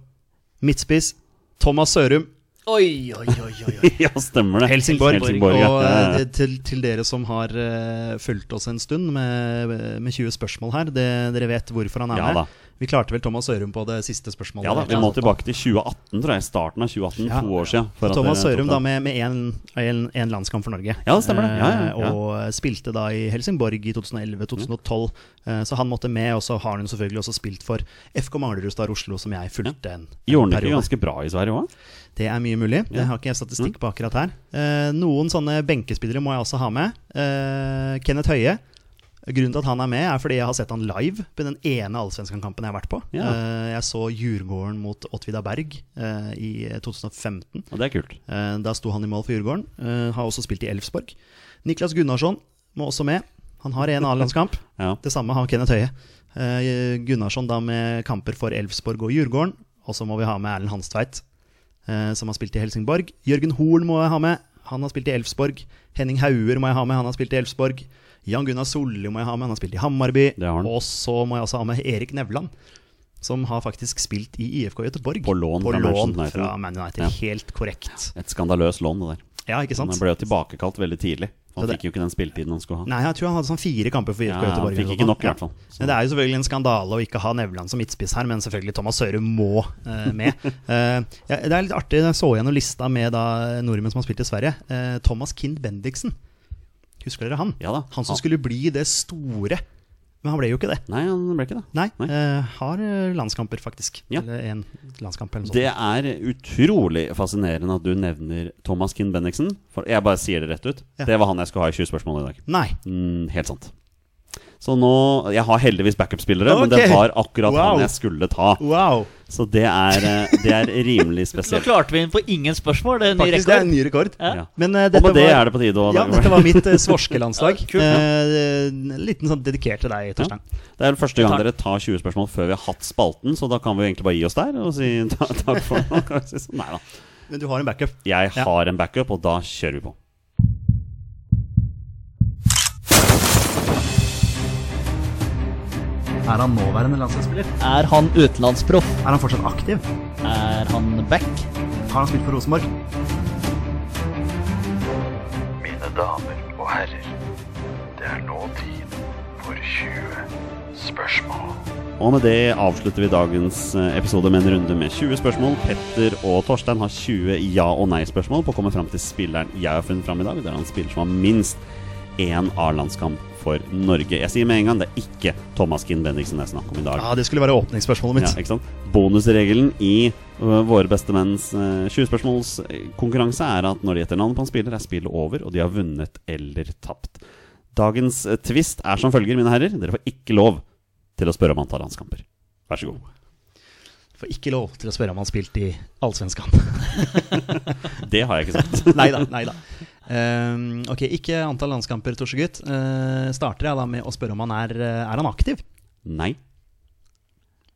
S2: Midtspiss, Thomas Sørum.
S3: Oi, oi, oi, oi, oi.
S1: ja, stemmer det.
S2: Helsingborg.
S1: Helsingborg ja.
S2: Og
S1: Ja,
S2: eh,
S1: ja.
S2: det- til, til dere som har eh, fulgt oss en stund med, med 20 spørsmål her, det, dere vet hvorfor han er
S1: Ja da.
S2: med. Vi klarte vel Thomas Sørum på det siste spørsmålet.
S1: ja da, vi må tilbake til 2018, tror jeg. Starten av 2018,
S2: Ja.
S1: to år siden. for at
S2: Thomas
S1: dere
S2: Sørum
S1: tok
S2: da
S1: det.
S2: med, med en, en, en landskamp for Norge.
S1: Ja, det stemmer det. Ja, ja,
S2: Eh,
S1: ja.
S2: Og spilte da i Helsingborg i 2011-2012. Så han måtte med, og så har han jo selvfølgelig også spilt for FK Manglerudstad Oslo, som jeg fulgte en, en
S1: Gjorde han ikke
S2: periode.
S1: ganske bra i Sverige òg?
S2: Det er mye mulig. Det har ikke
S1: Mm.
S2: jeg statistikk på akkurat her. Eh, noen sånne benkespillere må jeg også ha med. Eh, Kenneth Høie. Grunnen til at han er med, er fordi jeg har sett han live på den ene allsvenskan-kampen jeg har vært på.
S1: Ja.
S2: Eh, jeg så Djurgården mot Åttvida Berg eh, i 2015.
S1: Og det er kult.
S2: Eh, da sto han i mål for Djurgården. Eh, har også spilt i Elfsborg. Niklas Gunnarsson må også med. Han har en A-landskamp.
S1: Ja.
S2: Det samme har Kenneth Høie. Eh, Gunnarsson da med kamper for Elfsborg og Djurgården. Og så må vi ha med Erlend Hanstveit, eh, som har spilt i Helsingborg. Jørgen Hoel må jeg ha med. Han har spilt i Elfsborg. Henning Hauger må jeg ha med. Han har spilt i Elfsborg. Jan Gunnar Solli må jeg ha med. Han har spilt i Hammarby.
S1: Det har han.
S2: Og så må jeg også ha med Erik Nevland. Som har faktisk spilt i IFK Göteborg.
S1: På lån
S2: fra,
S1: fra
S2: lån
S1: Manchester United.
S2: fra Man United.
S1: Ja.
S2: Helt korrekt.
S1: Et skandaløst lån, det der.
S2: Ja, ikke sant?
S1: Han ble jo tilbakekalt veldig tidlig. Han
S2: Det-
S1: fikk jo ikke den spilletiden han skulle ha.
S2: Nei, jeg tror han hadde sånn fire kamper for IFK
S1: Ja,
S2: Göteborg.
S1: han fikk
S2: eller
S1: ikke
S2: noe
S1: nok, i
S2: sånt.
S1: hvert fall. Så-
S2: Men Det er jo selvfølgelig en skandale å ikke ha Nevland som midtspiss her, men selvfølgelig Thomas Sørum må eh, med. Eh, ja, det er litt artig, jeg så gjennom lista med da, nordmenn som har spilt i Sverige. Eh, Thomas Kind Bendiksen. Husker dere han?
S1: Ja da.
S2: Han som
S1: Han-
S2: skulle bli det store. Men han ble jo ikke det.
S1: Nei, han ble ikke det.
S2: Nei,
S1: Nei.
S2: eh, har eh, landskamper, faktisk.
S1: Ja.
S2: Eller én landskamp, eller noe
S1: Sånn.
S2: sånt.
S1: Det er utrolig fascinerende at du nevner Thomas Kinn Bendiksen. For jeg bare sier det rett ut.
S2: Ja.
S1: Det var han jeg skulle ha i 20 spørsmål i dag.
S2: Nei.
S1: Mm, helt sant. Så nå Jeg har heldigvis backup-spillere, men
S2: Ok.
S1: det var akkurat
S2: Wow.
S1: han jeg skulle ta.
S2: Wow!
S1: Så det er, eh, det er rimelig
S3: Nå
S1: spesielt.
S3: klarte vi inn på ingen spørsmål. Det er en ny
S2: Faktisk, det er
S3: rekord.
S2: en ny rekord.
S3: Ja.
S1: Ja.
S2: Men eh,
S1: Og
S2: dette
S1: med det
S2: var
S1: er det på tide å
S2: Ja, dette var mitt eh, svorske landslag.
S3: Ja, kult.
S2: Eh, liten sånn dedikert til deg,
S1: Ja.
S2: Torstein.
S1: Det er første gang
S3: Takk.
S1: dere tar 20 spørsmål før vi har hatt spalten, så da kan vi jo egentlig bare gi oss der og si ta- takk for nå. kan vi si sånn. Nei da.
S2: Men du har en backup.
S1: Jeg
S2: Ja.
S1: har en backup, og da kjører vi på.
S2: Er han nåværende landslagsspiller?
S3: Er han utenlandsproff?
S2: Er han fortsatt aktiv?
S3: Er han back?
S2: Har han spilt for Rosenborg?
S5: Mine damer og herrer, det er nå tid for 20 spørsmål.
S1: Og med det avslutter vi dagens eh, episode med en runde med 20 spørsmål. Petter og Torstein har 20 ja- og nei-spørsmål på å komme fram til spilleren jeg har funnet fram i dag. Det er han spiller som har minst én A-landskamp for Norge. Jeg sier med en gang, det er ikke Thomas Kinn Bendiksen det er snakk om i dag.
S2: Ja, Det skulle være åpningsspørsmålet
S1: Ja,
S2: mitt.
S1: ikke sant? Bonusregelen i øh, Våre beste menns øh, 20-spørsmålskonkurranse er at når de gjetter navn på en spiller, er spillet over, og de har vunnet eller tapt. Dagens øh, twist er som følger, mine herrer. Dere får ikke lov til å spørre om antall landskamper. Vær så god.
S2: Får ikke lov til å spørre om han spilte i Allsvenskan.
S1: Det har jeg ikke sagt.
S2: nei da. nei da Ehm, Ok, ikke antall landskamper, Torsegutt. eh, Uh, starter jeg da med å spørre om han er eh, Er han aktiv?
S1: Nei.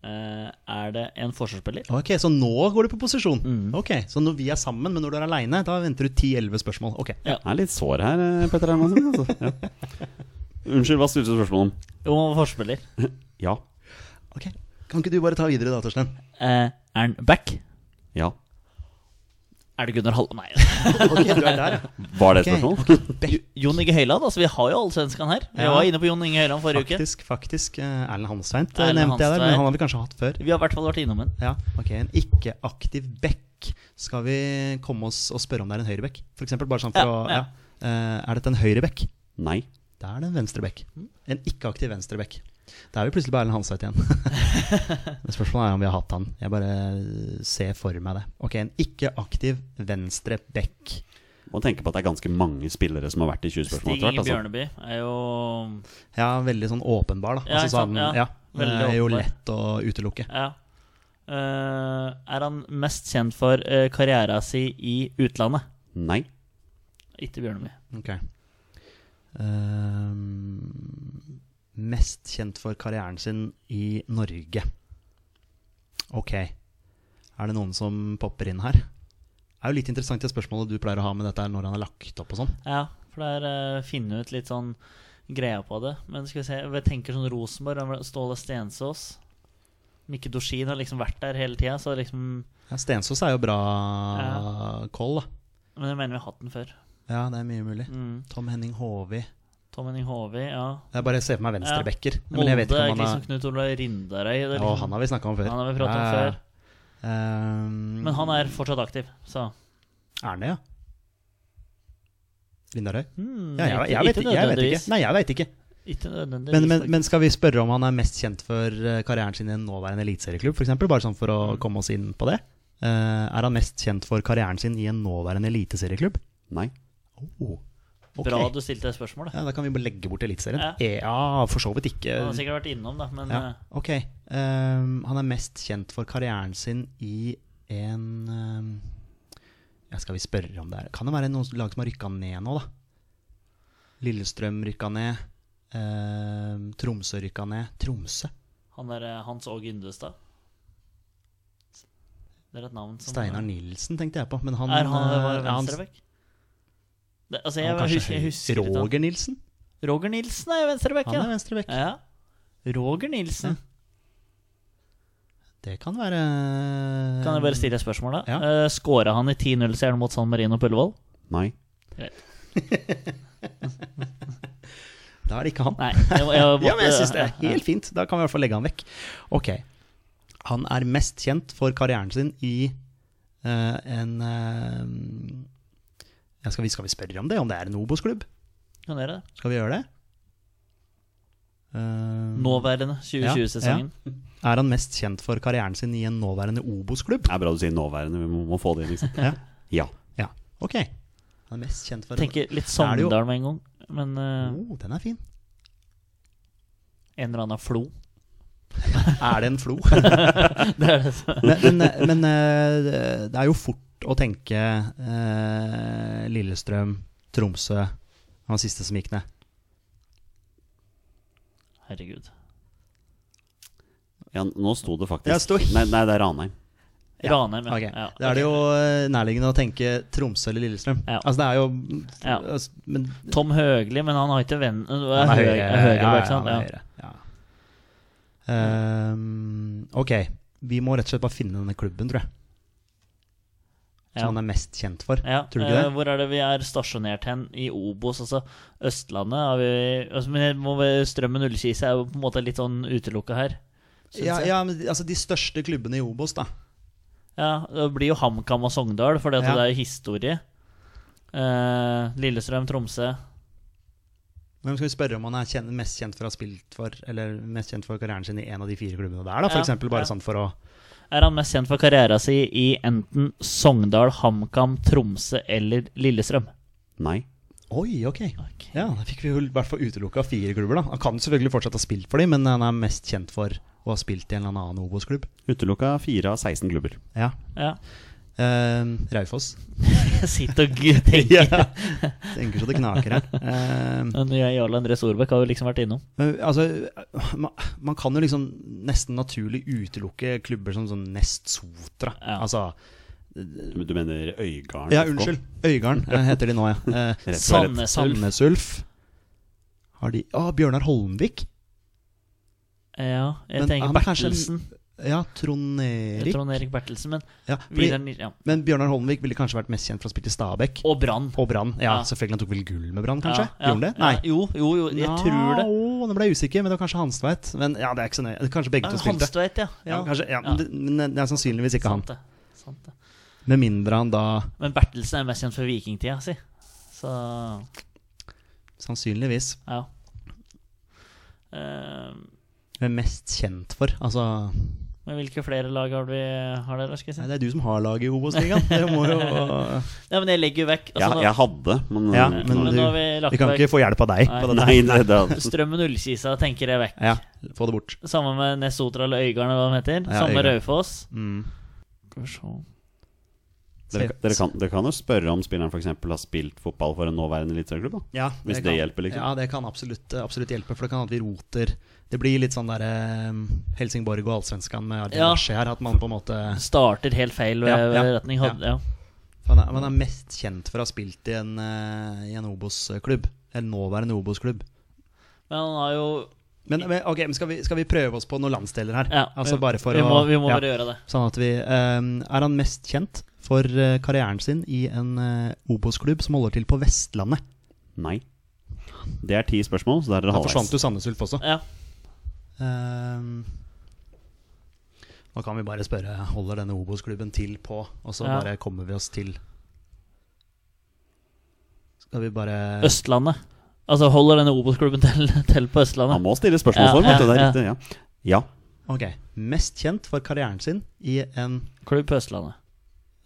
S3: eh, er det en forsvarsspiller.
S2: Ok, Så nå går du på posisjon? Ok, Så når vi er sammen, men når du er aleine, da venter du 10-11 spørsmål? Ok,
S1: Jeg er litt sår her, eh, Petter Hermansen. Altså. Ja. Unnskyld, hva stilte du spørsmål om?
S3: Jo, forsvarsspiller.
S1: Ja.
S2: ok Kan ikke du bare ta videre, da, Torstein?
S3: Eh, er han back?
S1: Ja.
S3: Er det Gunnar Halle? Nei.
S2: Ok, du er der, ja.
S1: Var det et
S2: Ok,
S1: spørsmål?
S2: ok, Beck,
S3: Jon Inge Høyland. Altså, vi har jo allsvenskan her. Vi
S2: Ja.
S3: var inne på Jon Inge Høyland forrige uke.
S2: faktisk. faktisk eh, Erlend Hanstveit eh,
S3: Erlend
S2: nevnte jeg der, men
S3: Hanstveit.
S2: han har vi kanskje hatt før.
S3: Vi har i hvert fall vært innom den.
S2: Ja, ok, En ikke-aktiv back. Skal vi komme oss og spørre om det er en høyreback? For eksempel, bare sånn for
S3: Ja,
S2: å
S3: ja.
S2: ja. Eh, Er dette en høyreback?
S1: Nei.
S2: Da er det en venstreback.
S3: Mm.
S2: En ikke-aktiv venstreback. Da er vi plutselig på Erlend Hansveit igjen. Men Spørsmålet er om vi har hatt han. Jeg bare eh, ser for meg det. Ok, en ikke-aktiv venstreback.
S1: Må tenke på at det er ganske mange spillere som har vært i 20 spørsmål
S3: Stig
S1: etter
S3: Inge
S1: hvert. Altså.
S3: Bjørneby er jo
S2: Ja, veldig sånn åpenbar, da. sånn,
S3: Ja, ikke sant? Ja,
S2: ja,
S3: veldig
S2: det er jo
S3: åpenbar.
S2: lett å utelukke.
S3: Ja. Eh, er han mest kjent for eh, karriera si i utlandet?
S1: Nei.
S3: Ikke Bjørneby.
S2: Ok. Ehm, mest kjent for karrieren sin i Norge. Ok. Er det noen som popper inn her? Det er jo litt interessant det spørsmålet du pleier å ha med dette her når han er lagt opp og sånn.
S3: Ja, for det er eh, finne ut litt sånn greia på det. Men skal vi se, jeg tenker sånn Rosenborg, Ståle Stensås Mikke Dorsin har liksom vært der hele tida, så liksom
S2: Ja, Stensås er jo bra koll, da.
S3: Men jeg mener vi har hatt den før.
S2: Ja, det er mye mulig.
S3: Mm.
S2: Tom Henning Håvi.
S3: Tom Henning Håvi, ja.
S2: Jeg bare ser for meg venstrebacker.
S3: Ja.
S2: Men jeg vet ikke
S3: Molde,
S2: om han
S3: liksom
S2: er
S3: Knut Olav Rindarøy. det er
S2: Å,
S3: liksom-
S2: han har vi snakka om før.
S3: han har vi pratet om
S2: Ja, ja, ja.
S3: før.
S2: Ehm,
S3: Men han er fortsatt aktiv, så
S2: Er han det, ja? Lindarøy?
S3: hmm,
S2: Ja, jeg, jeg, vet, ikke- jeg vet ikke.
S3: nødvendigvis.
S2: Nei, jeg vet ikke.
S3: Ikke nødvendigvis.
S2: Men, men,
S3: faktisk.
S2: men skal vi spørre om han er mest kjent for eh, karrieren sin i en nåværende eliteserieklubb, f.eks.? Bare sånn for å
S3: Mm.
S2: komme oss inn på det. Eh, er han mest kjent for karrieren sin i en nåværende eliteserieklubb?
S1: Nei.
S2: Oh, ok.
S3: Bra du stilte det spørsmålet.
S2: Ja, da kan vi bare legge bort Eliteserien. E,
S3: Ja.
S2: Ja. for så vidt ikke.
S3: Han har sikkert vært innom, da, men
S2: Ja,
S3: eh,
S2: ok. Ehm, han er mest kjent for karrieren sin i en ehm, ja, Skal vi spørre om det er Kan det være noen lag som har rykka ned nå, da? Lillestrøm rykka ned. ehm, Tromsø rykka ned. Tromså?
S3: han er eh, Hans Åge Yndestad. Det er et navn som
S2: Steinar Nilsen tenkte jeg på. Men han,
S3: Er han
S2: eh,
S3: var
S2: ja, han-
S3: venstreback? Det- Altså, jeg,
S2: han kanskje
S3: husker, jeg husker
S2: høy-
S3: ikke han.
S2: Roger Nilsen?
S3: Roger Nilsen er jo venstreback,
S2: Han
S3: ja.
S2: er venstreback.
S3: ja. Roger Nilsen.
S2: Det kan være
S3: Kan jeg bare stille et spørsmål, da?
S2: Ja.
S3: Ja. Skåra han i 10-0-seieren mot San Marino på Ullevål?
S1: Nei.
S2: eh, Da er det ikke han.
S3: Nei. Jeg, jeg, måtte,
S2: Ja, men jeg synes det er helt fint. Da kan vi i hvert fall legge han vekk. Ok. Han er mest kjent for karrieren sin i eh, en eh, ja, skal, vi, skal vi spørre om det? Om det er en Obos-klubb?
S3: Kan dere det?
S2: Skal vi gjøre det? Eh,
S3: Nåværende 2020-sesongen.
S2: Er han mest kjent for karrieren sin i en nåværende Obos-klubb?
S1: Det er bra du sier nåværende, vi må, må få det inn, liksom.
S2: Ja.
S1: Ja.
S2: ja. Ok. Han er mest kjent for
S3: Tenker litt
S2: Da er det jo-
S3: Sogndal med en gang. Men eh,
S2: oh, Den er fin.
S3: en eller annen flo.
S2: Er det en flo?
S3: Det er det som
S2: men, men, men eh, det er jo fort å tenke eh, Lillestrøm, Tromsø Han var siste som gikk ned.
S3: Herregud.
S1: ja. Nå sto det faktisk
S2: Ja, sto-
S1: nei, nei, det er Ranheim.
S2: Ja,
S3: Ranheim, ja.
S2: Ok,
S3: ja.
S2: Da er det jo eh, nærliggende å tenke Tromsø eller Lillestrøm.
S3: Ja.
S2: Altså det er jo
S3: Ja.
S2: altså, Men
S3: Tom Høgli, men han har ikke venn...
S2: han
S3: Han er høyre, er høyre
S2: ja,
S3: bak,
S2: ja,
S3: sant?
S2: han er
S3: Ja.
S2: høyre. Ja. Ehm, ok, vi må rett og slett bare finne denne klubben, tror jeg. Som
S3: Ja.
S2: han er mest kjent for.
S3: Ja,
S2: Tror du ikke
S3: eh,
S2: det?
S3: Hvor er det vi er stasjonert hen? I Obos, altså Østlandet har vi altså, Men jeg må være- Strømmen Ullkise er jo på en måte litt sånn utelukka her. synes
S2: Ja,
S3: jeg.
S2: ja, men altså De største klubbene i Obos, da.
S3: Ja, det blir jo HamKam og Sogndal, for
S2: Ja.
S3: det er jo historie. Eh, Lillestrøm, Tromsø.
S2: Hvem skal vi spørre om han er kjen mest kjent for å ha spilt for Eller mest kjent for karrieren sin i en av de fire klubbene der, da? For
S3: Ja,
S2: eksempel, bare
S3: ja.
S2: sånn for å
S3: Er han mest kjent for karriera si i enten Sogndal, HamKam, Tromsø eller Lillestrøm?
S1: Nei.
S2: Oi, ok.
S3: Ok.
S2: Ja, da fikk vi jo i hvert fall utelukka fire klubber, da. Han kan selvfølgelig fortsatt ha spilt for dem, men han er mest kjent for å ha spilt i en eller annen Obos-klubb.
S1: Utelukka fire av 16 klubber.
S2: Ja.
S3: Ja.
S2: Eh, Raufoss.
S3: Jeg sitter og g- tenker.
S2: Ja. Tenker så det knaker her. Eh,
S3: Men jeg, Jarl André Solbakk har jo liksom vært innom.
S2: Men, altså, man, man kan jo liksom nesten naturlig utelukke klubber som sånn Nest Sotra.
S3: Ja.
S2: Altså,
S1: Du mener Øygarden?
S2: Mm. ja,
S1: FK?
S2: unnskyld. Øygarden eh, heter de nå, ja. Eh,
S1: Rett og slett.
S3: Sandnes Ulf.
S2: Sandnes Ulf. Har de Å, Bjørnar Holmvik?
S3: Ja, jeg
S2: Men
S3: tenker
S2: han er kanskje-
S3: Bertelsen.
S2: Ja, Trond Erik.
S3: Trond Erik Bertelsen. Men,
S2: Ja, fordi,
S3: Vidar Nil- ja.
S2: men Bjørnar Holmvik ville kanskje vært mest kjent for å spille i Stabæk.
S3: Og Brann.
S2: Og Brann. Ja,
S3: Ja.
S2: selvfølgelig. Han tok vel gull med Brann, kanskje?
S3: Ja, ja,
S2: Gjorde han det?
S3: ja.
S2: Nei.
S3: Jo, jo, jo, jeg tror det.
S2: Å, nå ble jeg usikker, men det var kanskje Hanstveit. Men ja, det er ikke så nøye. Kanskje begge to spilte.
S3: Hanstveit, ja.
S2: Ja,
S3: ja.
S2: kanskje, ja, men det- Men det er sannsynligvis ikke han.
S3: Sant det. Sant det.
S2: Med mindre han da
S3: Men Bertelsen er mest kjent for vikingtida si. Så
S2: sannsynligvis
S3: ja. Eh,
S2: er mest kjent for. Altså
S3: men hvilke flere lag har, vi, har dere? skal jeg si?
S2: Nei, det er du som har laget i Obos-ligaen. Det må jo
S3: Nei, men jeg legger jo vekk altså,
S1: Ja,
S3: nå-
S1: jeg hadde, men,
S2: Ja,
S1: men
S2: men
S3: Men
S2: du-
S3: nå har vi lagt
S2: Vi kan
S3: vekk
S2: ikke få hjelp av deg på denne.
S1: Nei, nei, det hadde
S3: Strømmen Ullkisa, tenker jeg vekk.
S2: Ja, få det bort.
S3: Samme med Nesotra eller Øygarden, eller hva de heter.
S2: Ja,
S3: Samme med
S2: Øygarden.
S3: Raufoss.
S2: Mm.
S3: Skal vi se.
S1: dere, dere, kan, dere kan jo spørre om spilleren f.eks. har spilt fotball for en nåværende eliteserieklubb. da.
S2: Ja,
S1: Hvis det hjelper, liksom.
S2: Ja, det kan absolutt, absolutt hjelpe, for det kan at vi roter. Det blir litt sånn derre Helsingborg og Allsvenskan med Arjen
S3: Ja.
S2: Larsen her, at man på en måte
S3: Starter helt feil ved,
S2: Ja, ja,
S3: ved retning. Hadde, ja.
S2: han er, Man er mest kjent for å ha spilt i en, eh, i en Obos-klubb. Eller nåværende Obos-klubb.
S3: Men han har jo
S2: Men, men, ok, men skal, vi, skal vi prøve oss på noen landsdeler her?
S3: ja,
S2: altså
S3: vi-
S2: bare for
S3: vi
S2: å
S3: må, vi må
S2: ja.
S3: bare gjøre det.
S2: Sånn at vi ehm, Er han mest kjent for eh, karrieren sin i en eh, Obos-klubb som holder til på Vestlandet?
S1: Nei. Det er ti spørsmål, så der er dere
S2: Da forsvant sånn,
S1: halvveis.
S2: jo Sandnes Ulf også.
S3: Ja.
S2: Ehm, nå kan vi bare spørre Holder denne Obos-klubben til på, og så
S3: Ja.
S2: bare kommer vi oss til Skal vi bare
S3: Østlandet. Altså holder denne Obos-klubben til, til på
S1: Han
S3: Østlandet?
S1: må stille spørsmålsform,
S3: Ja,
S1: vet du. Det er
S3: ja,
S1: riktig. Ja. ja.
S2: Ok. Mest kjent for karrieren sin i en
S3: Klubb på Østlandet.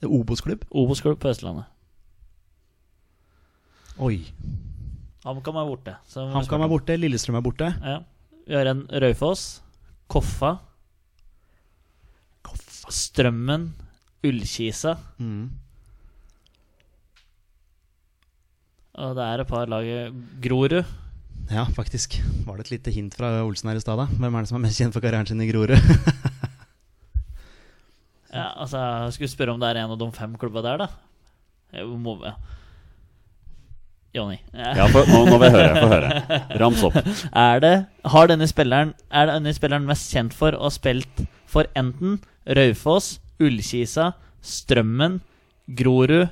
S2: Obos-klubb?
S3: Obos-klubb på Østlandet.
S2: Oi.
S3: HamKam er borte. så må vi
S2: HamKam
S3: spørre
S2: er borte, Lillestrøm er borte.
S3: om- Ja. Vi har en Raufoss, Koffa, Strømmen, Ullkisa.
S2: Mm.
S3: Og det er et par lag Grorud.
S2: Ja, faktisk. Var det et lite hint fra Olsen her i stad, da? Hvem er det som er mest kjent for karrieren sin i Grorud?
S3: Ja, altså, jeg skulle spørre om det er en av de fem klubba der, da. Jeg må, ja. Jonny.
S1: ja for, nå, nå vil jeg høre. Få høre. Rams opp.
S3: Er det Har denne spilleren Er denne spilleren mest kjent for å ha spilt for enten Raufoss, Ullkisa, Strømmen, Grorud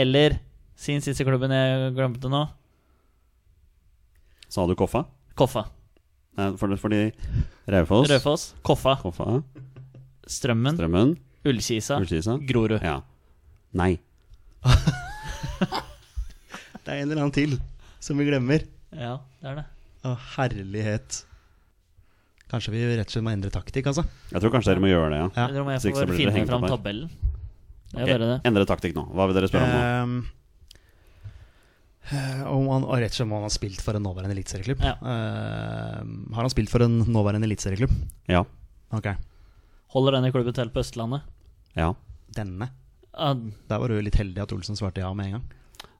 S3: eller sin siste klubben jeg glemte nå,
S1: Sa du Koffa?
S3: Koffa.
S1: Nei, for, fordi Raufoss,
S3: Raufoss, Koffa,
S1: Koffa,
S3: Strømmen,
S1: Strømmen,
S3: Ullkisa,
S1: Ullkisa.
S3: Grorud.
S1: sånn? Ja. Nei.
S2: Det er en eller annen til som vi glemmer.
S3: Ja, det er det.
S2: Å, herlighet. Kanskje vi rett og slett må endre taktikk, altså.
S1: Jeg tror kanskje dere må gjøre det, ja.
S2: Ja.
S3: Jeg tror
S1: Så
S3: jeg
S1: ikke så
S3: får
S1: blir dere
S3: finne
S1: hengt opp
S3: fram
S1: her.
S3: tabellen. Det er bare det.
S1: Ok, Endre taktikk nå. Hva vil dere spørre om nå?
S2: Ehm, eh, om han, og rett og slett om han har spilt for en nåværende eliteserieklubb.
S3: Ja.
S2: Ehm, har han spilt for en nåværende eliteserieklubb?
S1: Ja.
S2: Ok.
S3: Holder denne klubben til på Østlandet? Ah,
S1: Ja.
S2: Denne.
S3: Ja,
S2: Der var du litt heldig at Olsen svarte ja med en gang.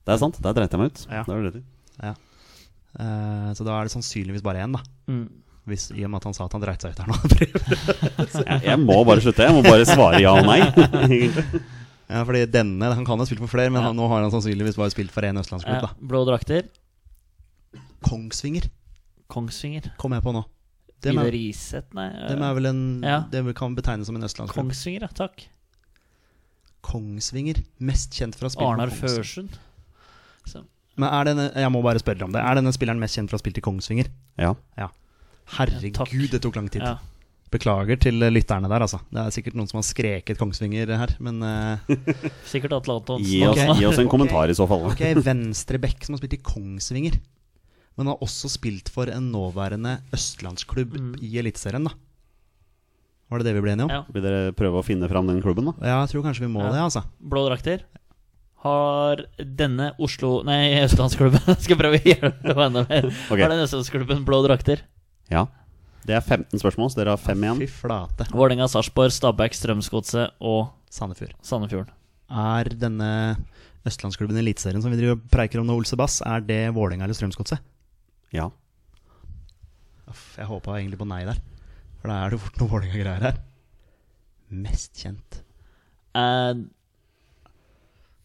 S1: Det er sant. Der dreit jeg meg ut.
S2: Ja.
S1: Det var det rett i.
S2: Eh, så da er det sannsynligvis bare én, da.
S3: mm.
S2: Hvis, I og med at han sa at han dreit seg ut her nå.
S1: Jeg, jeg må bare slutte. Jeg må bare svare ja og nei.
S2: Ja, fordi denne, Han kan ha spilt for flere, men
S3: Ja.
S2: han, nå har han sannsynligvis bare spilt for én
S3: Ja,
S2: østlandsklubb. da
S3: Eh, Blå drakter.
S2: Kongsvinger
S3: Kongsvinger.
S2: kom jeg på nå. Dem
S3: Vidar
S2: er,
S3: Riseth, nei. eh,
S2: dem er vel en
S3: Ja.
S2: Det kan betegnes som en østlandsklubb.
S3: Kongsvinger, ja. Takk.
S2: Kongsvinger. Mest kjent for å ha spilt
S3: Arnar
S2: for Kongsvinger.
S3: Førsund. Så,
S2: Men er denne, jeg må bare spørre dere om det. Er denne spilleren mest kjent for å ha spilt i Kongsvinger?
S1: Ja.
S2: Herregud,
S3: Ja, takk.
S2: det tok lang tid.
S3: ja.
S2: Beklager til eh, lytterne der, altså. Det er sikkert noen som har skreket Kongsvinger her, men eh,
S3: Sikkert Atle
S1: Gi
S3: Antonsen.
S1: oss,
S2: Ok.
S1: gi oss en
S2: Ok.
S1: kommentar i så fall.
S2: Ok, venstreback som har spilt i Kongsvinger. Men har også spilt for en nåværende østlandsklubb
S3: Mm.
S2: i Eliteserien, da. Var det det vi ble enige om?
S3: Ja.
S2: Ja,
S1: Vil dere prøve å finne fram den klubben, da?
S2: jeg tror kanskje vi må
S3: Ja.
S2: det, altså.
S3: Blå drakter. Har denne Oslo Nei, østlandsklubben Skal prøve å gjøre det enda mer.
S1: Ok.
S3: Har denne østlandsklubben blå drakter?
S1: Ja. Det er 15 spørsmål, så dere har fem igjen.
S2: Fy flate.
S3: Vålerenga, Sarpsborg, Stabæk, Strømsgodset og
S2: Sandefjord.
S3: Sandefjorden.
S2: Er denne østlandsklubben i Eliteserien som vi driver og preiker om nå, Olsebass, er det Vålerenga eller Strømsgodset?
S1: Ja.
S2: Uff, Jeg håpa egentlig på nei der, for da er det fort noe Vålerenga-greier her. Mest kjent.
S3: Er,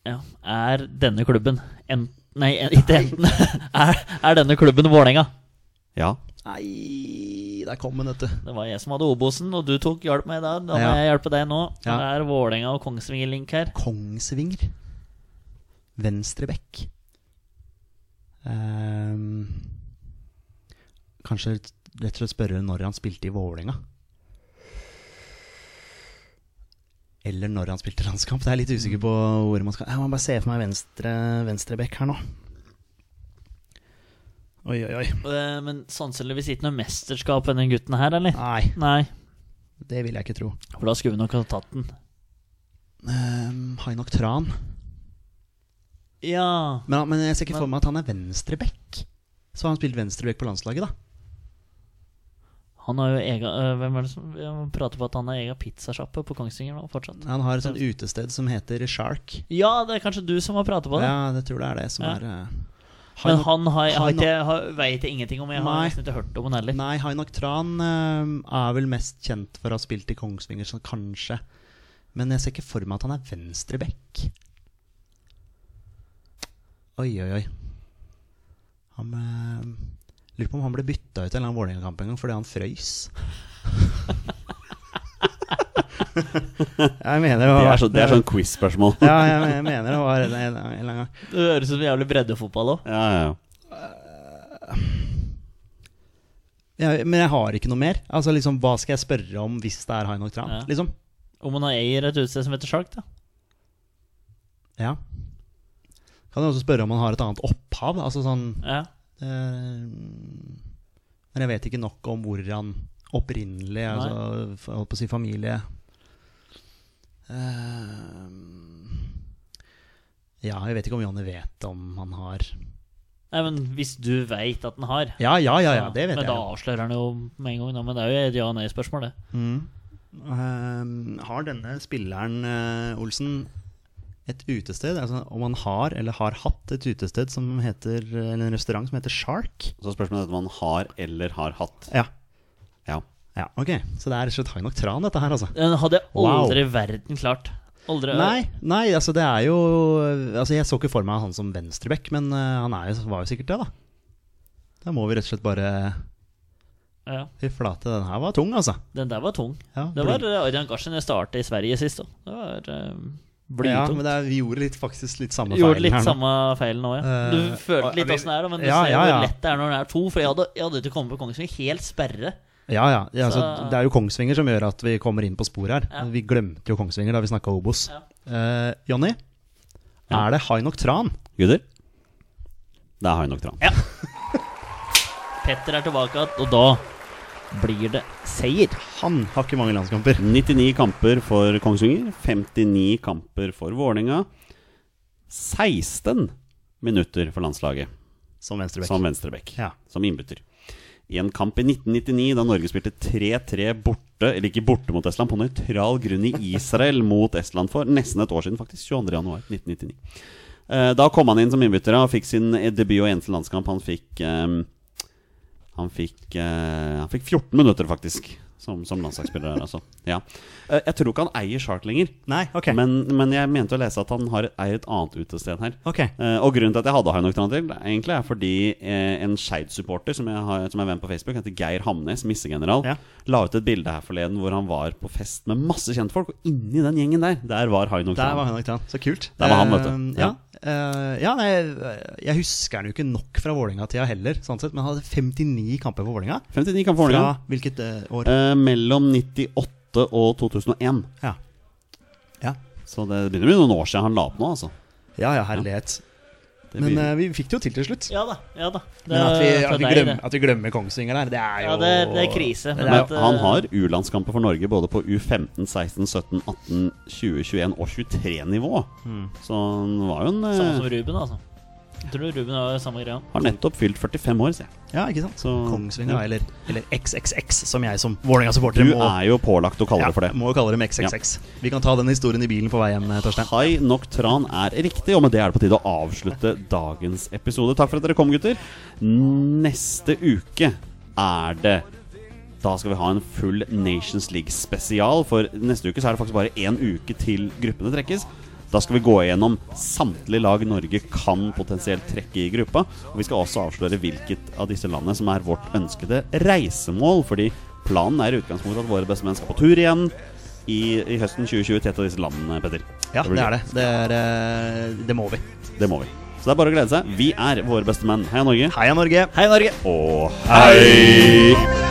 S3: ja, er denne klubben en, Nei, en- ikke enten. Er, er denne klubben Vålerenga?
S1: Ja.
S2: Nei, der kom den, vet du.
S3: Det var jeg som hadde Obosen, og du tok hjelp meg da. Da må
S2: Ja.
S3: jeg hjelpe deg nå.
S2: Ja.
S3: Det er Vålerenga og Kongsvinger-link her.
S2: Kongsvinger. Venstrebekk. Ehm, kanskje rett og slett spørre når han spilte i Vålerenga. Eller når han spilte landskamp. Det er litt usikker på hvor man skal Jeg må bare se for meg venstre venstrebekk her nå. Oi, oi, oi.
S3: Eh, Men sannsynligvis ikke noe mesterskap enn den gutten her, eller?
S2: Nei,
S3: Nei,
S2: det vil jeg ikke tro.
S3: for da skulle vi nok ha tatt den.
S2: Um, Hainok Tran.
S3: Ja
S2: Men, men jeg ser ikke
S3: Men-
S2: for meg at han er venstreback. Så har han spilt venstreback på landslaget, da.
S3: Han har jo ega øh, Hvem er det som vi må prate på at han har ega pizzasjappe på Kongsvinger nå, fortsatt?
S2: Han har et sånt utested som heter Shark.
S3: Ja, det er kanskje du som har pratet på det.
S2: Ja, det tror jeg er det som
S3: Ja.
S2: er eh,
S3: Men
S2: Hainok-
S3: han har, jeg har
S2: han-
S3: ikke, har, vet jeg ingenting om. Jeg har
S2: Nei.
S3: nesten ikke hørt om han heller.
S2: Nei, Hainak Tran eh, er vel mest kjent for å ha spilt i Kongsvinger, så kanskje. Men jeg ser ikke for meg at han er venstreback. Oi, oi, oi. Han eh, Lurer på om han ble bytta ut i en eller annen Vålerenga-kamp en gang fordi han frøys. jeg mener det
S1: Det
S2: var
S1: er, så, det er sånn quiz-spørsmål.
S2: Ja, jeg, jeg mener det var en en- en eller annen gang.
S3: Det høres ut som jævlig breddefotball òg.
S1: Ja, ja, ja.
S2: Ja, men jeg har ikke noe mer. Altså liksom, Hva skal jeg spørre om hvis det er Hainok Tran?
S3: Ja.
S2: Liksom?
S3: Om han har eier et utested som heter Shark, da.
S2: Ja. Kan jeg også spørre om han har et annet opphav? Altså sånn
S3: Ja.
S2: eh, Men jeg vet ikke nok om hvor han opprinnelig altså, f- Holdt på å si familie Eh, Ja, jeg vet ikke om Jonny vet om han har
S3: Nei, men hvis du veit at han har
S2: Ja, ja, ja, ja det vet
S3: Men
S2: jeg.
S3: da
S2: jo.
S3: avslører han jo med en gang. Da. Men det er jo et ja- og nei-spørsmål, det.
S2: Mm. Eh, har denne spilleren, eh, Olsen, et utested? Altså om han har, eller har hatt, et utested som heter Eller en restaurant som heter Shark?
S1: Så spørsmålet er om han har eller har hatt.
S2: Ja.
S1: Ja.
S2: ja ok, Så det er rett og slett Hainok Tran, dette her, altså?
S3: Den hadde jeg
S2: Wow.
S3: aldri i verden klart. Aldri
S2: Nei, nei, altså det er jo Altså Jeg så ikke for meg han som venstreback, men eh, han er jo, var jo sikkert det, da. Da må vi rett og slett bare
S3: Ja.
S2: Fy flate, den her var tung, altså.
S3: Den der var tung.
S2: Ja,
S3: Det var eh, Arjan Garsen jeg startet i Sverige sist, da. Det var eh,
S2: ja,
S3: blytungt.
S2: men det er, vi gjorde litt, faktisk litt samme
S3: Gjorde litt
S2: her nå.
S3: samme feilen nå, ja.
S2: Eh,
S3: Du følte
S2: og-
S3: litt
S2: vi-
S3: åssen det er, da, men du
S2: Ja,
S3: ser
S2: ja, ja.
S3: hvor lett det er når det er to. For jeg hadde, jeg hadde ikke kommet på Kongsvinger. Helt sperre.
S2: Ja, ja. ja altså,
S3: Så-
S2: det er jo Kongsvinger som gjør at vi kommer inn på sporet her.
S3: Ja.
S2: Vi glemte jo Kongsvinger da vi snakka Obos.
S3: Ja.
S2: Eh, Jonny,
S1: Ja.
S2: er det Hainok Tran?
S1: Gutter? Det er Hainok Tran.
S3: Petter er tilbake igjen, og da blir det seier.
S2: Han har ikke mange landskamper.
S1: 99 kamper for Kongsvinger, 59 kamper for Vålerenga. 16 minutter for landslaget
S2: Som venstrebekk.
S1: som venstrebekk.
S2: Ja.
S1: Som innbytter. I en kamp i 1999, da Norge spilte 3-3 borte, eller ikke borte mot Estland, på nøytral grunn i Israel mot Estland for nesten et år siden, faktisk. 22.1.1999. Eh, Da kom han inn som innbytter og fikk sin eh, debut og eneste landskamp. Han fikk eh, han fikk, eh, han fikk 14 minutter, faktisk, som, som landslagsspiller. der, Altså. Ja. Eh, jeg tror ikke han eier Shark lenger,
S2: Nei, ok.
S1: men, men jeg mente å lese at han har, eier et annet utested her.
S2: Ok.
S1: Eh, og grunnen til at jeg hadde Hainok Tran til, egentlig er fordi eh, en Skeid-supporter som, jeg har- som er venn på Facebook, heter Geir Hamnes, missegeneral,
S2: Ja.
S1: la ut et bilde her forleden hvor han var på fest med masse kjentfolk, og inni den gjengen der, der var Hainok
S2: Der var
S1: Tran.
S2: Hainok Tran. Så kult.
S1: Sånn. Der var han, vet du.
S2: Eh, ja. Eh, ja, nei, jeg husker han jo ikke nok fra Vålerenga-tida heller, sånn sett, men han hadde 59 kamper for Vålerenga.
S1: 59 kamper for
S2: Fra
S1: Vålerenga.
S2: hvilket eh, år?
S1: Eh, mellom 98 og 2001.
S2: Ja. Ja,
S1: Så det begynner å bli noen år siden han la opp nå, altså.
S2: ja, ja herlighet.
S1: Det
S2: Men
S1: begynner-
S2: eh, vi fikk det jo til til slutt.
S3: Ja da. ja da Det
S2: Men at vi,
S3: er fra
S2: at, vi
S3: deg,
S2: glemmer,
S3: det.
S2: at vi glemmer Kongsvinger der, det er jo
S3: Ja, det, det er krise.
S2: Det
S3: men
S2: er
S1: Men
S3: at,
S1: han
S3: eh,
S1: har U-landskamper for Norge både på U15, 16, 17,
S2: Hmm.
S1: 18, 20, 21 og 23-nivå. Så han var jo en eh,
S3: Samme som Ruben, altså. Tror du Ruben har samme greia?
S1: Har nettopp fylt 45 år, sier jeg.
S2: Ja, ikke sant?
S1: Så-
S2: Kongsvinger,
S1: Ja.
S2: eller, eller XXX, som jeg som Vålerenga-supporter
S1: Du
S2: må,
S1: er jo pålagt å kalle
S2: ja,
S1: det for det.
S2: må kalle dem XXX. Vi kan ta den historien i bilen på vei hjem, eh, Torstein.
S1: Hai nok tran er riktig, og med det er det på tide å avslutte dagens episode. Takk for at dere kom, gutter. Neste uke er det da skal vi ha en full Nations League spesial, for neste uke så er det faktisk bare én uke til gruppene trekkes. Da skal vi gå igjennom samtlige lag Norge kan potensielt trekke i gruppa. Og vi skal også avsløre hvilket av disse landene som er vårt ønskede reisemål. Fordi planen er i utgangspunktet at våre beste menn skal på tur igjen i, i høsten 2020 til et av disse landene, Petter.
S2: Ja,
S1: blir
S2: det er det. Det, er, eh, det må vi.
S1: det må vi. Så det er bare å glede seg. Vi er våre beste menn. Heia Norge.
S2: Heia Norge!
S1: Hei, Norge. Og hei!